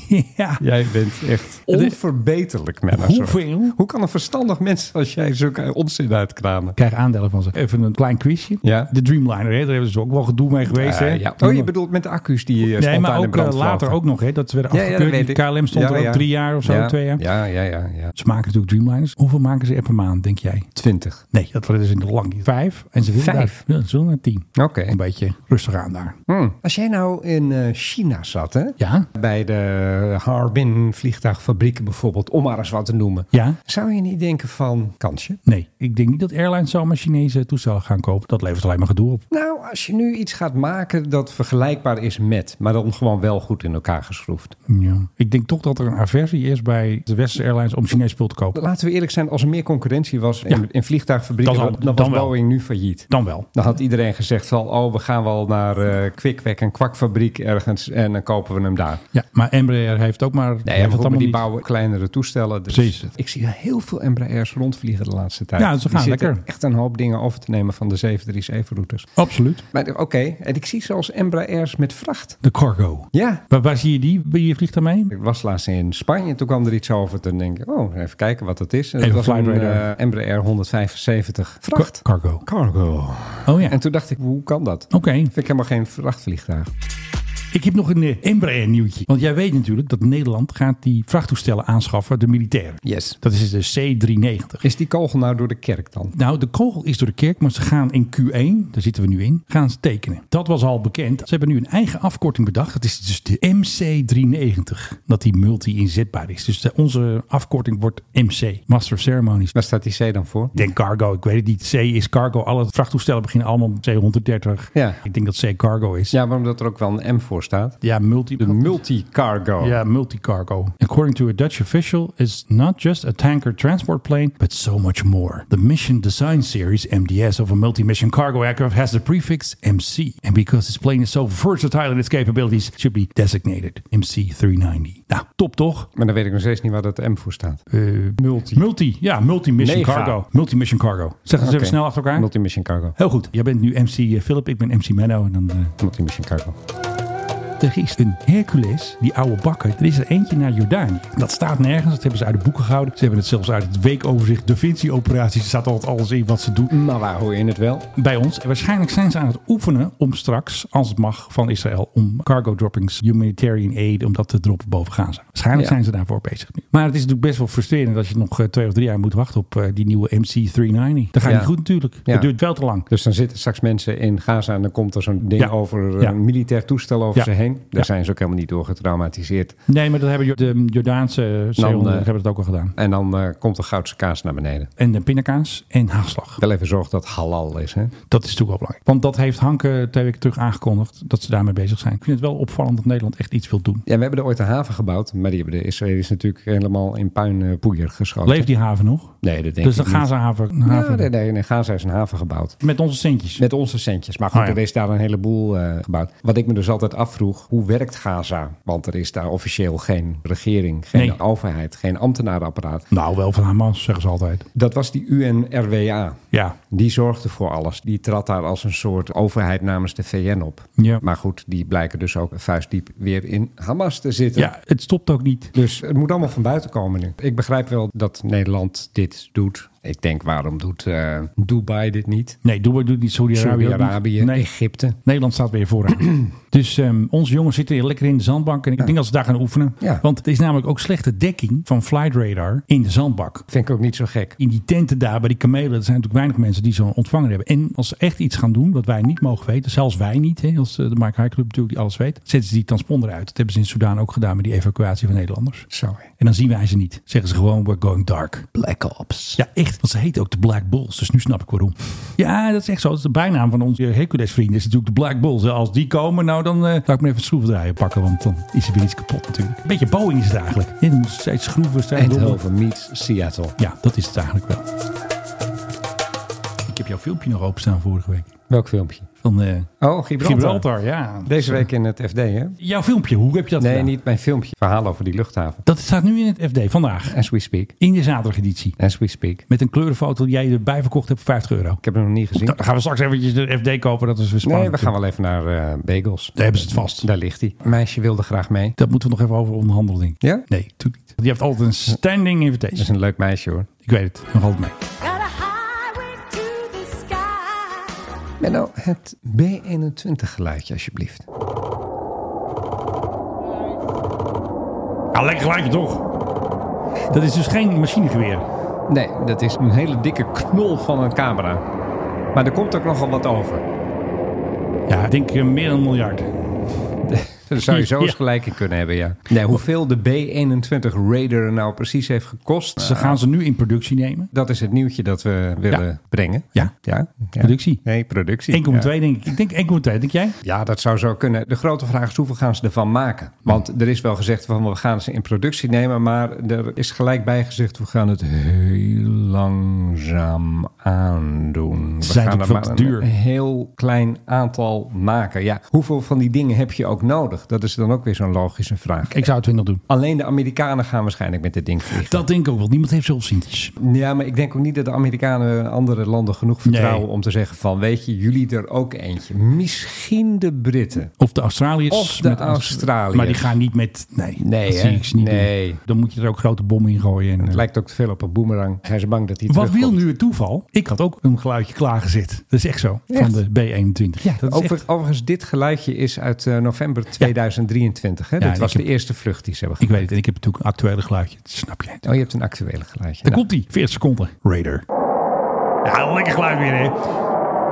[SPEAKER 3] [LAUGHS] ja.
[SPEAKER 4] Jij bent echt onverbeterlijk, Menno. Sorry.
[SPEAKER 3] Hoeveel?
[SPEAKER 4] Hoe kan een verstandig mens als jij zulke eh, onzin uitkramen?
[SPEAKER 3] Ik krijg aandelen van ze. Even een klein quizje.
[SPEAKER 4] Ja.
[SPEAKER 3] De Dreamliner, hè, daar hebben ze ook wel gedoe mee geweest. hè?
[SPEAKER 4] Eh, ja. Oh, je bedoelt met de accu's die eh,
[SPEAKER 3] Nee,
[SPEAKER 4] spontaan
[SPEAKER 3] maar
[SPEAKER 4] in
[SPEAKER 3] ook
[SPEAKER 4] brand
[SPEAKER 3] eh, later
[SPEAKER 4] vlogen.
[SPEAKER 3] ook nog. Hè, dat werden
[SPEAKER 4] Ja, ja, dat
[SPEAKER 3] afgekeurd.
[SPEAKER 4] weet ik.
[SPEAKER 3] KLM stond
[SPEAKER 4] Ja,
[SPEAKER 3] er ook
[SPEAKER 4] ja.
[SPEAKER 3] drie jaar of zo,
[SPEAKER 4] Ja,
[SPEAKER 3] twee jaar.
[SPEAKER 4] Ja, ja, ja, ja.
[SPEAKER 3] Ze maken natuurlijk Dreamliners. Hoeveel maken ze per maand, denk jij?
[SPEAKER 4] 20.
[SPEAKER 3] Nee, dat is in de lang niet. Vijf. En ze willen
[SPEAKER 4] Vijf?
[SPEAKER 3] Daar, Nou, ja, ze willen naar tien.
[SPEAKER 4] Oké.
[SPEAKER 3] Een beetje rustig aan daar.
[SPEAKER 4] Hmm. Als jij nou in eh, China zat, hè?
[SPEAKER 3] Ja.
[SPEAKER 4] Bij de Harbin vliegtuigfabrieken bijvoorbeeld, om maar eens wat te noemen.
[SPEAKER 3] Ja.
[SPEAKER 4] Zou je niet denken van kansje?
[SPEAKER 3] Nee, ik denk niet dat airlines zomaar Chinese toestellen gaan kopen. Dat levert alleen maar gedoe op.
[SPEAKER 4] Nou, als je nu iets gaat maken dat vergelijkbaar is met, maar dan gewoon wel goed in elkaar geschroefd.
[SPEAKER 3] Ja. Ik denk toch dat er een aversie is bij de Westerse airlines om Chinees spul te kopen.
[SPEAKER 4] Laten we eerlijk zijn, als er meer concurrentie was in,
[SPEAKER 3] Ja.
[SPEAKER 4] in vliegtuigfabrieken,
[SPEAKER 3] Dan
[SPEAKER 4] dan,
[SPEAKER 3] wel.
[SPEAKER 4] dan was
[SPEAKER 3] Dan wel.
[SPEAKER 4] Boeing nu failliet.
[SPEAKER 3] Dan wel.
[SPEAKER 4] Dan had iedereen gezegd van, oh, we gaan wel naar eh Kwikwek en Kwakfabriek ergens en dan kopen we hem daar.
[SPEAKER 3] Ja, maar Embraer heeft ook maar...
[SPEAKER 4] Nee,
[SPEAKER 3] heeft
[SPEAKER 4] ja,
[SPEAKER 3] het allemaal
[SPEAKER 4] die
[SPEAKER 3] niet.
[SPEAKER 4] bouwen kleinere toestellen. Dus
[SPEAKER 3] Precies.
[SPEAKER 4] Ik zie heel veel Embraers rondvliegen de laatste tijd.
[SPEAKER 3] Ja, ze gaan
[SPEAKER 4] die zitten
[SPEAKER 3] lekker.
[SPEAKER 4] echt een hoop dingen over te nemen van de 737-routes.
[SPEAKER 3] Absoluut.
[SPEAKER 4] Maar eh, oké, en ik zie zelfs Embraers met vracht.
[SPEAKER 3] De cargo.
[SPEAKER 4] Ja.
[SPEAKER 3] Waar, waar zie je die? Wie vliegt daarmee?
[SPEAKER 4] Ik was laatst in Spanje, toen kwam er iets over. Toen denk ik, oh, even kijken wat dat is. En dat
[SPEAKER 3] Even
[SPEAKER 4] was
[SPEAKER 3] Flight
[SPEAKER 4] een
[SPEAKER 3] Radar.
[SPEAKER 4] eh, Embraer 175 vracht.
[SPEAKER 3] Car- cargo.
[SPEAKER 4] Cargo.
[SPEAKER 3] Oh ja.
[SPEAKER 4] En
[SPEAKER 3] Oké.
[SPEAKER 4] toen dacht ik, hoe kan dat? Vind ik helemaal geen vrachtvliegtuig.
[SPEAKER 3] Ik heb nog een eh, Embraer nieuwtje. Want jij weet natuurlijk dat Nederland gaat die vrachttoestellen aanschaffen, de militairen.
[SPEAKER 4] Yes.
[SPEAKER 3] Dat is de C390.
[SPEAKER 4] Is die kogel nou door de kerk dan?
[SPEAKER 3] Nou, de kogel is door de kerk, maar ze gaan in Q1, daar zitten we nu in, gaan ze tekenen. Dat was al bekend. Ze hebben nu een eigen afkorting bedacht. Dat is dus de MC390. Dat die multi-inzetbaar is. Dus de- onze afkorting wordt MC, Master of Ceremonies.
[SPEAKER 4] Waar staat die C dan voor?
[SPEAKER 3] Ik denk cargo, ik weet het niet. C is cargo. Alle vrachttoestellen beginnen allemaal op C130.
[SPEAKER 4] Ja.
[SPEAKER 3] Ik denk dat C cargo is.
[SPEAKER 4] Ja, maar omdat er ook wel een M voor staat.
[SPEAKER 3] Ja, multi...
[SPEAKER 4] De multi-cargo.
[SPEAKER 3] Ja, multi-cargo. According to a Dutch official, it's not just a tanker transport plane, but so much more. The Mission Design Series MDS of a multi-mission cargo aircraft has the prefix MC, and because this plane is so versatile in its capabilities, it should be designated MC390. Nou, top toch?
[SPEAKER 4] Maar dan weet ik nog steeds niet waar dat M voor staat. multi.
[SPEAKER 3] Multi, ja, multi-mission
[SPEAKER 4] Mega.
[SPEAKER 3] cargo. Multi-mission cargo. Zeg het eens
[SPEAKER 4] Oké.
[SPEAKER 3] even snel achter elkaar.
[SPEAKER 4] Multi-mission cargo.
[SPEAKER 3] Heel goed. Jij bent nu MC Philip, ik ben MC Menno. En dan, eh,
[SPEAKER 4] Multi-mission cargo.
[SPEAKER 3] Er is een Hercules, die oude bakken. Er is er eentje naar Jordanië. Dat staat nergens. Dat hebben ze uit de boeken gehouden. Ze hebben het zelfs uit het weekoverzicht Da Vinci-operaties. Er staat altijd alles in wat ze doen
[SPEAKER 4] Maar Nou, waar hoor je het wel?
[SPEAKER 3] bij ons. En waarschijnlijk zijn ze aan het oefenen om straks, als het mag, van Israël... om cargo droppings, humanitarian aid, om dat te droppen boven Gaza. Waarschijnlijk
[SPEAKER 4] Ja.
[SPEAKER 3] zijn ze daarvoor bezig nu. Maar het is natuurlijk best wel frustrerend... dat je nog eh, twee of drie jaar moet wachten op eh, die nieuwe MC390. Dat gaat
[SPEAKER 4] Ja.
[SPEAKER 3] niet goed natuurlijk. Het
[SPEAKER 4] Ja.
[SPEAKER 3] duurt wel te lang.
[SPEAKER 4] Dus dan zitten straks mensen in Gaza en dan komt er zo'n ding
[SPEAKER 3] Ja.
[SPEAKER 4] over eh,
[SPEAKER 3] Ja.
[SPEAKER 4] een militair toestel over
[SPEAKER 3] Ja.
[SPEAKER 4] ze heen. Daar
[SPEAKER 3] Ja.
[SPEAKER 4] zijn ze ook helemaal niet door getraumatiseerd.
[SPEAKER 3] Nee, maar dat hebben Jo- de Jordaanse
[SPEAKER 4] Dan,
[SPEAKER 3] zeehonden
[SPEAKER 4] eh,
[SPEAKER 3] hebben het ook al gedaan.
[SPEAKER 4] En dan eh, komt de goudse kaas naar beneden.
[SPEAKER 3] En de pindakaas en haagslag.
[SPEAKER 4] Wel even zorgen dat het halal is. Hè?
[SPEAKER 3] Dat is natuurlijk wel belangrijk. Want dat heeft Hanke twee weken terug aangekondigd dat ze daarmee bezig zijn. Ik vind het wel opvallend dat Nederland echt iets wil doen.
[SPEAKER 4] Ja, we hebben er ooit een haven gebouwd. Maar die hebben de Israëli's natuurlijk helemaal in puin eh, poeier geschoten.
[SPEAKER 3] Leeft die haven nog?
[SPEAKER 4] Nee, dat denk
[SPEAKER 3] dus
[SPEAKER 4] ik
[SPEAKER 3] de Gaza-haven.
[SPEAKER 4] niet.
[SPEAKER 3] haven.
[SPEAKER 4] Ja, nee, nee, nee, Gaza is een haven gebouwd.
[SPEAKER 3] Met onze centjes.
[SPEAKER 4] Met onze centjes. Maar goed,
[SPEAKER 3] Oh ja.
[SPEAKER 4] er is daar een heleboel eh, gebouwd. Wat ik me dus altijd afvroeg, hoe werkt Gaza? Want er is daar officieel geen regering, geen
[SPEAKER 3] Nee.
[SPEAKER 4] overheid, geen ambtenarenapparaat.
[SPEAKER 3] Nou, wel van Hamas, zeggen ze altijd.
[SPEAKER 4] Dat was die UNRWA.
[SPEAKER 3] Ja.
[SPEAKER 4] Die zorgde voor alles. Die trad daar als een soort overheid namens de VN op.
[SPEAKER 3] Ja.
[SPEAKER 4] Maar goed, die blijken dus ook vuistdiep weer in Hamas te zitten.
[SPEAKER 3] ja, het stopt ook niet.
[SPEAKER 4] Dus het moet allemaal van buiten komen nu. Ik begrijp wel dat Nederland dit doet. Ik denk, waarom doet eh, Dubai dit niet?
[SPEAKER 3] Nee, Dubai doet niet Saudi-Arabië. ook niet.
[SPEAKER 4] Saudi-Arabië,
[SPEAKER 3] Nee,
[SPEAKER 4] Egypte.
[SPEAKER 3] Nederland staat weer
[SPEAKER 4] [CLEARS THROAT]
[SPEAKER 3] vooraan. dus ehm, onze jongens zitten hier lekker in de zandbank. En ik denk dat ze daar gaan oefenen.
[SPEAKER 4] Ja.
[SPEAKER 3] Want er is namelijk ook slechte dekking van flight radar in de zandbak.
[SPEAKER 4] Vind ik ook niet zo gek.
[SPEAKER 3] in die tenten daar bij die kamelen, er zijn natuurlijk weinig mensen die zo'n ontvanger hebben. En als ze echt iets gaan doen wat wij niet mogen weten, zelfs wij niet, hè, als eh, de Mark High Club natuurlijk die alles weet, zetten ze die transponder uit. Dat hebben ze in Soedan ook gedaan met die evacuatie van Nederlanders.
[SPEAKER 4] Zo. hè.
[SPEAKER 3] En dan zien wij ze niet. Zeggen ze gewoon, we're going dark.
[SPEAKER 4] Black Ops.
[SPEAKER 3] Ja, echt. Want ze heet ook de Black Bulls. Dus nu snap ik waarom. Ja, dat is echt zo. Dat is de bijnaam van onze Hercules-vrienden. is natuurlijk de Black Bulls. Als die komen, nou dan eh, laat ik me even schroevendraaier pakken. Want dan is er weer iets kapot natuurlijk. Een beetje Boeing is het eigenlijk. Ja, dan moeten ze steeds schroeven, steeds rommel.
[SPEAKER 4] Eindhoven meets Seattle.
[SPEAKER 3] Ja, dat is het eigenlijk wel. Ik heb heb jouw filmpje nog openstaan vorige week.
[SPEAKER 4] Welk filmpje?
[SPEAKER 3] Van eh
[SPEAKER 4] Oh, Gibraltar.
[SPEAKER 3] Gibraltar, ja.
[SPEAKER 4] Deze week in het FD, hè?
[SPEAKER 3] Jouw filmpje, hoe heb je dat
[SPEAKER 4] Nee,
[SPEAKER 3] gedaan?
[SPEAKER 4] niet mijn filmpje. Verhaal over die luchthaven.
[SPEAKER 3] Dat staat nu in het FD vandaag.
[SPEAKER 4] As we speak.
[SPEAKER 3] In de zaterdageditie.
[SPEAKER 4] As we speak.
[SPEAKER 3] Met een kleurenfoto die jij erbij verkocht hebt voor 50 euro.
[SPEAKER 4] Ik heb hem nog niet gezien.
[SPEAKER 3] Nou, dan gaan we straks eventjes de FD kopen. Dat is weer spannend.
[SPEAKER 4] Nee, we gaan wel even naar eh, Bagels.
[SPEAKER 3] Daar hebben ze het vast.
[SPEAKER 4] Daar ligt hij. Meisje wilde graag mee.
[SPEAKER 3] Dat moeten we nog even over onderhandelen, denk ik.
[SPEAKER 4] Ja?
[SPEAKER 3] Nee, natuurlijk niet. Want je hebt altijd een standing
[SPEAKER 4] Dat is
[SPEAKER 3] invitation.
[SPEAKER 4] een leuk meisje hoor.
[SPEAKER 3] Ik weet het. Nog altijd mee.
[SPEAKER 4] Menno, het B21 geluidje alsjeblieft.
[SPEAKER 3] Ja, lekker gelijk toch? Dat is dus geen machinegeweer.
[SPEAKER 4] Nee, dat is een hele dikke knol van een camera. Maar er komt ook nogal wat over.
[SPEAKER 3] Ja, ik denk eh, meer dan een miljard.
[SPEAKER 4] Daar zou je [LAUGHS] zo eens
[SPEAKER 3] Ja.
[SPEAKER 4] gelijk in kunnen hebben, ja. Nee, hoeveel de B21 Raider nou precies heeft gekost,
[SPEAKER 3] Ze gaan ze nu in productie nemen.
[SPEAKER 4] dat is het nieuwtje dat we willen
[SPEAKER 3] Ja.
[SPEAKER 4] brengen.
[SPEAKER 3] Ja.
[SPEAKER 4] Ja, ja.
[SPEAKER 3] Productie.
[SPEAKER 4] Nee, productie.
[SPEAKER 3] 1,2
[SPEAKER 4] Ja.
[SPEAKER 3] denk ik. Ik denk 1,2. Denk jij?
[SPEAKER 4] Ja, dat zou zo kunnen. De grote vraag is hoeveel gaan ze ervan maken? Want er is wel gezegd van we gaan ze in productie nemen, maar er is gelijk bij gezegd we gaan het heel langzaam aandoen. We
[SPEAKER 3] Ze zijn
[SPEAKER 4] gaan
[SPEAKER 3] ook veel
[SPEAKER 4] maar
[SPEAKER 3] te duur.
[SPEAKER 4] een heel klein aantal maken. Ja, hoeveel van die dingen heb je ook nodig? Dat is dan ook weer zo'n logische vraag.
[SPEAKER 3] Ik zou het 20 doen.
[SPEAKER 4] Alleen de Amerikanen gaan waarschijnlijk met dit ding vliegen.
[SPEAKER 3] Dat denk ik ook wel. Niemand heeft zoveel zientjes.
[SPEAKER 4] Ja, maar ik denk ook niet dat de Amerikanen andere landen genoeg vertrouwen
[SPEAKER 3] Nee.
[SPEAKER 4] om te zeggen van weet je, jullie er ook eentje. Misschien de Britten.
[SPEAKER 3] Of de Australiërs.
[SPEAKER 4] Of de
[SPEAKER 3] met-
[SPEAKER 4] Australiërs.
[SPEAKER 3] Maar die gaan niet met... Nee,
[SPEAKER 4] Nee,
[SPEAKER 3] dat
[SPEAKER 4] hè?
[SPEAKER 3] zie ik ze niet
[SPEAKER 4] Nee.
[SPEAKER 3] doen. Dan moet je er ook grote bommen in gooien. En, eh,
[SPEAKER 4] Het lijkt ook te veel op een boemerang. Zijn ze bang dat hij
[SPEAKER 3] Wat wil
[SPEAKER 4] terugkomt?
[SPEAKER 3] nu het toeval? Ik had ook een geluidje klaargezet. Dat is echt zo.
[SPEAKER 4] Echt?
[SPEAKER 3] Van de B21. Ja, dat is
[SPEAKER 4] Over-
[SPEAKER 3] echt-
[SPEAKER 4] Overigens, dit geluidje is uit eh, november 2023. Hè?
[SPEAKER 3] Ja,
[SPEAKER 4] Dit
[SPEAKER 3] ik
[SPEAKER 4] was
[SPEAKER 3] heb-
[SPEAKER 4] de eerste vlucht die ze hebben
[SPEAKER 3] Ik
[SPEAKER 4] gedaan.
[SPEAKER 3] weet het. En ik heb natuurlijk een actuele geluidje. Dat snap jij.
[SPEAKER 4] Oh, je hebt een actuele geluidje.
[SPEAKER 3] Daar
[SPEAKER 4] Nou,
[SPEAKER 3] komt hij. 40 seconden. Raider. Ja, lekker geluid weer, hè?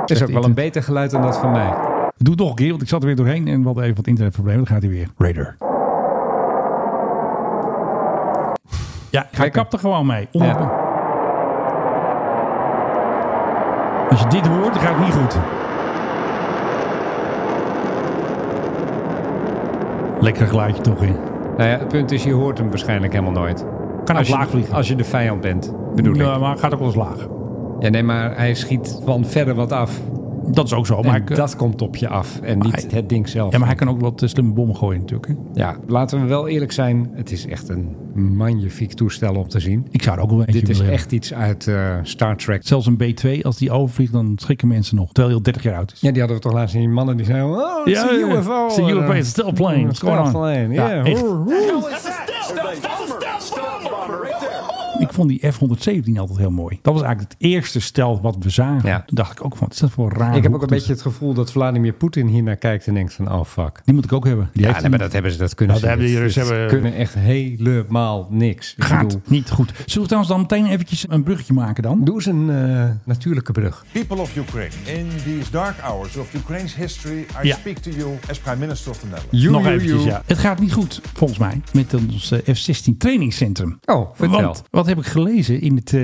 [SPEAKER 4] het is ook wel een beter geluid dan dat van mij.
[SPEAKER 3] Doe het nog een keer, want ik zat er weer doorheen en we hadden even wat internetproblemen. Dan gaat hij weer. Raider. Ja, hij
[SPEAKER 4] Kijk.
[SPEAKER 3] kapt er gewoon mee.
[SPEAKER 4] Ja.
[SPEAKER 3] Als je dit hoort, dan gaat het niet goed. Lekker geluidje toch in.
[SPEAKER 4] Nou ja, het punt is, je hoort hem waarschijnlijk helemaal nooit.
[SPEAKER 3] Kan ook
[SPEAKER 4] als,
[SPEAKER 3] laag
[SPEAKER 4] je,
[SPEAKER 3] vliegen.
[SPEAKER 4] als je de vijand bent, bedoel ik.
[SPEAKER 3] Ja, maar gaat ook wel eens laag.
[SPEAKER 4] Ja, nee, maar hij schiet van verder wat af.
[SPEAKER 3] Dat is ook zo. Maar,
[SPEAKER 4] en
[SPEAKER 3] ik, eh,
[SPEAKER 4] dat komt op je af en niet
[SPEAKER 3] hij-
[SPEAKER 4] het ding zelf.
[SPEAKER 3] ja, maar hij kan ook wat eh, slimme bommen gooien natuurlijk. Hè?
[SPEAKER 4] Ja, laten we wel eerlijk zijn. Het is echt een magnifiek toestel om te zien.
[SPEAKER 3] Ik zou er ook wel een eentje
[SPEAKER 4] Dit is
[SPEAKER 3] willen
[SPEAKER 4] echt iets uit eh, Star Trek.
[SPEAKER 3] Zelfs een B2, als die overvliegt, dan schrikken mensen nog. Terwijl hij al 30 jaar oud is.
[SPEAKER 4] Ja, die hadden we toch laatst zien. Mannen die zeiden, oh, it's
[SPEAKER 3] Ja,
[SPEAKER 4] a
[SPEAKER 3] ja.
[SPEAKER 4] UFO.
[SPEAKER 3] It's a UFO, it's still a plane.
[SPEAKER 4] Mm,
[SPEAKER 3] What's going on?
[SPEAKER 4] plane,
[SPEAKER 3] Ja,
[SPEAKER 4] yeah.
[SPEAKER 3] echt.
[SPEAKER 4] eh, Hoor, hoor.
[SPEAKER 3] Ik vond die F-117 altijd heel mooi. Dat was eigenlijk het eerste stel wat we zagen.
[SPEAKER 4] Ja.
[SPEAKER 3] Toen dacht ik ook van, wat is dat voor een raar
[SPEAKER 4] Ik heb ook een
[SPEAKER 3] hoektoes?
[SPEAKER 4] beetje het gevoel dat Vladimir Poetin hier naar kijkt en denkt van, oh fuck.
[SPEAKER 3] Die moet ik ook hebben. Die
[SPEAKER 4] Ja,
[SPEAKER 3] heeft
[SPEAKER 4] nee, maar dat hebben ze, dat kunnen
[SPEAKER 3] Nou,
[SPEAKER 4] ze
[SPEAKER 3] daar
[SPEAKER 4] niet.
[SPEAKER 3] hebben die
[SPEAKER 4] Ze
[SPEAKER 3] dus hebben-
[SPEAKER 4] kunnen echt helemaal niks. Ik
[SPEAKER 3] Gaat
[SPEAKER 4] bedoel,
[SPEAKER 3] niet goed. Zullen we trouwens dan meteen eventjes een bruggetje maken dan?
[SPEAKER 4] Doe eens een eh, natuurlijke brug.
[SPEAKER 10] People of Ukraine, in these dark hours of Ukraine's history, I
[SPEAKER 3] Ja.
[SPEAKER 10] speak to you as Prime Minister of the Netherlands.
[SPEAKER 4] Joe,
[SPEAKER 3] Nog
[SPEAKER 4] joe,
[SPEAKER 3] eventjes,
[SPEAKER 4] joe.
[SPEAKER 3] ja. Het gaat niet goed, volgens mij, met ons eh, F-16 trainingscentrum.
[SPEAKER 4] Oh, vertel.
[SPEAKER 3] Want wat heb ik gelezen in het eh,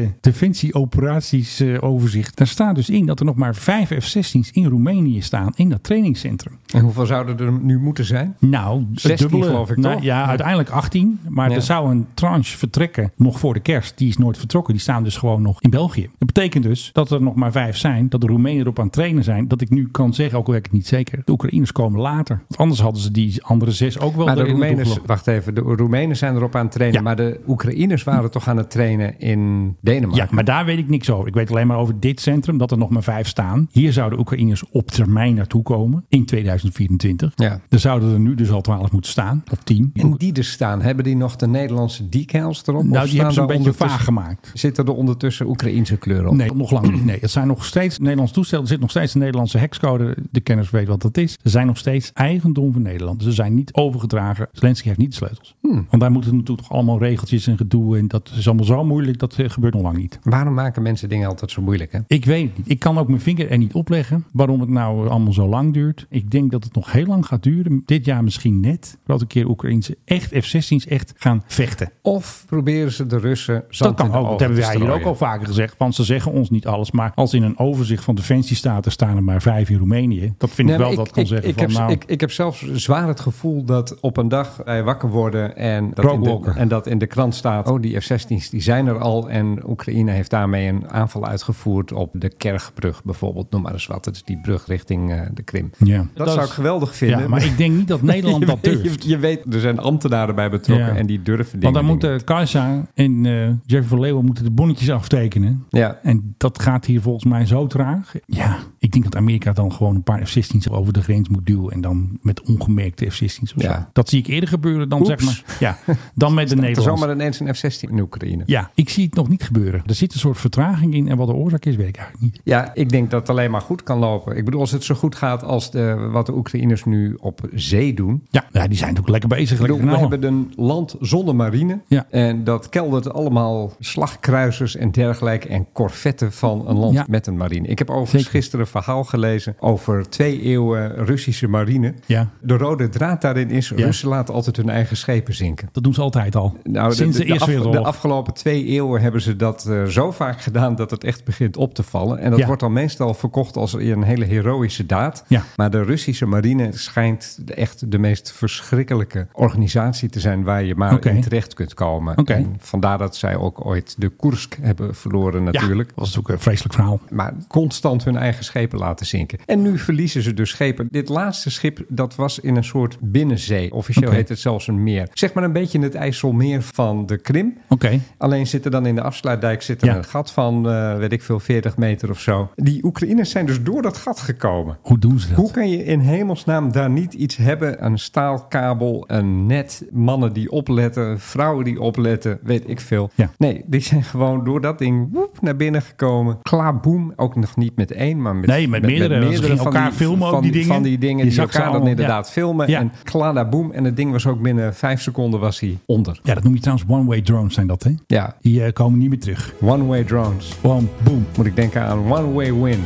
[SPEAKER 3] defensie-operaties eh, overzicht? Daar staat dus in dat er nog maar vijf F-16's in Roemenië staan in dat trainingscentrum.
[SPEAKER 4] En hoeveel zouden er nu moeten zijn?
[SPEAKER 3] Nou, het
[SPEAKER 4] 16
[SPEAKER 3] dubbele.
[SPEAKER 4] geloof ik,
[SPEAKER 3] Nou,
[SPEAKER 4] toch?
[SPEAKER 3] Ja, uiteindelijk 18. Maar
[SPEAKER 4] Ja.
[SPEAKER 3] er zou een tranche vertrekken nog voor de kerst. Die is nooit vertrokken. Die staan dus gewoon nog in België. Dat betekent dus dat er nog maar vijf zijn. Dat de Roemenen erop aan het trainen zijn. Dat ik nu kan zeggen, ook al weet ik het niet zeker. De Oekraïners komen later. Want anders hadden ze die andere zes ook wel
[SPEAKER 4] Maar de
[SPEAKER 3] erin moeten
[SPEAKER 4] Roemenen,
[SPEAKER 3] vlogen.
[SPEAKER 4] wacht even, de Roemenen zijn erop aan het trainen.
[SPEAKER 3] Ja.
[SPEAKER 4] Maar de Oekraïners waren toch aan het trainen in
[SPEAKER 3] Ja,
[SPEAKER 4] Denemarken?
[SPEAKER 3] maar daar weet ik niks over. Ik weet alleen maar over dit centrum dat er nog maar vijf staan. Hier zouden Oekraïners op termijn naartoe komen in 2024.
[SPEAKER 4] Ja.
[SPEAKER 3] Er zouden er nu dus al twaalf moeten staan, of tien.
[SPEAKER 4] En die er staan, hebben die nog de Nederlandse decals erop? Of
[SPEAKER 3] nou, die
[SPEAKER 4] staan
[SPEAKER 3] hebben ze
[SPEAKER 4] daar
[SPEAKER 3] een beetje vaag
[SPEAKER 4] ondertussen-
[SPEAKER 3] gemaakt.
[SPEAKER 4] Zitten er ondertussen Oekraïnse kleuren op?
[SPEAKER 3] Nee, nog lang niet. Nee, het zijn nog steeds Nederlands toestellen. Er zit nog steeds een Nederlandse hexcode. De kenners weten wat dat is. Ze zijn nog steeds eigendom van Nederland. Ze zijn niet overgedragen. Zelensky heeft niet de sleutels. Want daar moeten natuurlijk toch allemaal regeltjes en gedoe. En dat is allemaal zo moeilijk. Dat eh, gebeurt nog lang niet.
[SPEAKER 4] Waarom maken mensen dingen altijd zo moeilijk? Hè?
[SPEAKER 3] Ik weet het niet. Ik kan ook mijn vinger er niet opleggen waarom het nou allemaal zo lang duurt. Ik denk dat het nog heel lang gaat duren. Dit jaar misschien net. Dat een keer Oekraïnse echt F-16's echt gaan vechten.
[SPEAKER 4] Of proberen ze de Russen
[SPEAKER 3] Dat
[SPEAKER 4] zand in
[SPEAKER 3] kan
[SPEAKER 4] de
[SPEAKER 3] ook.
[SPEAKER 4] ogen
[SPEAKER 3] Dat hebben
[SPEAKER 4] te
[SPEAKER 3] wij hier ook
[SPEAKER 4] strooien?
[SPEAKER 3] al vaker gezegd. Want ze zeggen ons niet alles. Maar als in een overzicht van defensiestaten staan er maar vijf in Roemenië. Dat vind
[SPEAKER 4] Nee,
[SPEAKER 3] ik wel
[SPEAKER 4] maar
[SPEAKER 3] dat kan zeggen.
[SPEAKER 4] ik,
[SPEAKER 3] van,
[SPEAKER 4] heb,
[SPEAKER 3] nou,
[SPEAKER 4] ik, ik heb zelfs zwaar het gevoel dat op een dag wij wakker worden en dat,
[SPEAKER 3] Rogue
[SPEAKER 4] in de,
[SPEAKER 3] Walker.
[SPEAKER 4] en dat in de krant staat: oh, die F-16's die zijn er al en Oekraïne heeft daarmee een aanval uitgevoerd op de Kergbrug bijvoorbeeld. Noem maar eens wat. Dat is die brug richting eh, de Krim.
[SPEAKER 3] Ja.
[SPEAKER 4] Dat,
[SPEAKER 3] Dat
[SPEAKER 4] zou
[SPEAKER 3] is-
[SPEAKER 4] ik geweldig vinden.
[SPEAKER 3] Ja, maar ik denk niet
[SPEAKER 4] [LAUGHS]
[SPEAKER 3] dat Nederland dat
[SPEAKER 4] Je weet-
[SPEAKER 3] durft.
[SPEAKER 4] Je, je weet, er zijn ambtenaren bij betrokken
[SPEAKER 3] Ja.
[SPEAKER 4] en die durven dingen
[SPEAKER 3] Want dan
[SPEAKER 4] niet.
[SPEAKER 3] moeten Kajsa en eh Jeffrey van Leeuwen moeten de bonnetjes aftekenen.
[SPEAKER 4] Ja.
[SPEAKER 3] En dat gaat hier volgens mij zo traag. Ja, ik denk dat Amerika dan gewoon een paar F-16's over de grens moet duwen. En dan met ongemerkte F-16's of
[SPEAKER 4] Ja.
[SPEAKER 3] zo. Dat zie ik eerder gebeuren dan
[SPEAKER 4] Oeps.
[SPEAKER 3] zeg maar. Ja,
[SPEAKER 4] [LAUGHS]
[SPEAKER 3] dan met de
[SPEAKER 4] Er is
[SPEAKER 3] Nederlanders.
[SPEAKER 4] zomaar ineens een F-16 in Oekraïne.
[SPEAKER 3] Ja, ik zie het nog niet gebeuren. Er zit een soort vertraging in. En wat de oorzaak is, weet ik eigenlijk niet.
[SPEAKER 4] Ja, ik denk dat het alleen maar goed kan lopen. Ik bedoel, als het zo goed gaat als de, wat de Oekraïners nu op zee doen.
[SPEAKER 3] Ja, Nou ja die zijn natuurlijk lekker bezig.
[SPEAKER 4] Ik
[SPEAKER 3] Lekker nou.
[SPEAKER 4] bedoel, we
[SPEAKER 3] knallen.
[SPEAKER 4] hebben een land zonder marine.
[SPEAKER 3] Ja.
[SPEAKER 4] En dat keldert allemaal slagkruisers en dergelijke. En korvetten van een land
[SPEAKER 3] Ja.
[SPEAKER 4] met een marine. Ik heb overigens
[SPEAKER 3] Zeker.
[SPEAKER 4] gisteren een verhaal gelezen over twee eeuwen Russische marine.
[SPEAKER 3] Ja.
[SPEAKER 4] De rode draad daarin is,
[SPEAKER 3] Ja.
[SPEAKER 4] Russen laten altijd hun eigen schepen zinken.
[SPEAKER 3] Dat doen ze altijd al.
[SPEAKER 4] Nou,
[SPEAKER 3] Sinds de,
[SPEAKER 4] de,
[SPEAKER 3] Eerste
[SPEAKER 4] af-
[SPEAKER 3] Wereldoorlog.
[SPEAKER 4] de afgelopen twee eeuwen hebben ze dat eh, zo vaak gedaan dat het echt begint op te vallen. En dat
[SPEAKER 3] Ja.
[SPEAKER 4] wordt dan meestal verkocht als een hele heroïsche daad.
[SPEAKER 3] Ja.
[SPEAKER 4] Maar de Russische marine schijnt echt de meest verschrikkelijke organisatie te zijn waar je maar
[SPEAKER 3] Oké.
[SPEAKER 4] in terecht kunt komen.
[SPEAKER 3] Oké.
[SPEAKER 4] En vandaar dat zij ook ooit de Koersk hebben verloren natuurlijk.
[SPEAKER 3] Ja, dat was natuurlijk een vreselijk verhaal.
[SPEAKER 4] Maar constant hun eigen schepen laten zinken. En nu verliezen ze dus schepen. Dit laatste schip, dat was in een soort binnenzee. Officieel
[SPEAKER 3] Oké.
[SPEAKER 4] heet het zelfs een meer. Zeg maar een beetje het IJsselmeer van de Krim.
[SPEAKER 3] Oké.
[SPEAKER 4] Alleen zit er dan in de afsluitdijk zit er
[SPEAKER 3] Ja.
[SPEAKER 4] een gat van, eh, weet ik veel, 40 meter of zo. Die Oekraïners zijn dus door dat gat gekomen.
[SPEAKER 3] Hoe doen ze dat?
[SPEAKER 4] Hoe kan je in hemelsnaam daar niet iets hebben? Een staalkabel, een net, mannen die opletten, vrouwen die opletten, weet ik veel.
[SPEAKER 3] Ja.
[SPEAKER 4] Nee, die zijn gewoon door dat ding woep, naar binnen gekomen. Klaarboem, ook nog niet met één, maar met,
[SPEAKER 3] Nee, met meerdere. Ze gingen elkaar filmen ook,
[SPEAKER 4] van,
[SPEAKER 3] die dingen.
[SPEAKER 4] Van die dingen
[SPEAKER 3] Je
[SPEAKER 4] die
[SPEAKER 3] zag ze
[SPEAKER 4] elkaar dan
[SPEAKER 3] allemaal,
[SPEAKER 4] inderdaad
[SPEAKER 3] ja.
[SPEAKER 4] filmen.
[SPEAKER 3] Ja.
[SPEAKER 4] En klaarboem. En het ding was ook binnen vijf seconden was hij onder.
[SPEAKER 3] Ja, dat noem je trouwens one-way drones zijn dat, hè?
[SPEAKER 4] Ja,
[SPEAKER 3] Die eh, komen niet meer terug.
[SPEAKER 4] one-way drones.
[SPEAKER 3] Gewoon boom.
[SPEAKER 4] Moet ik denken aan One Way Win.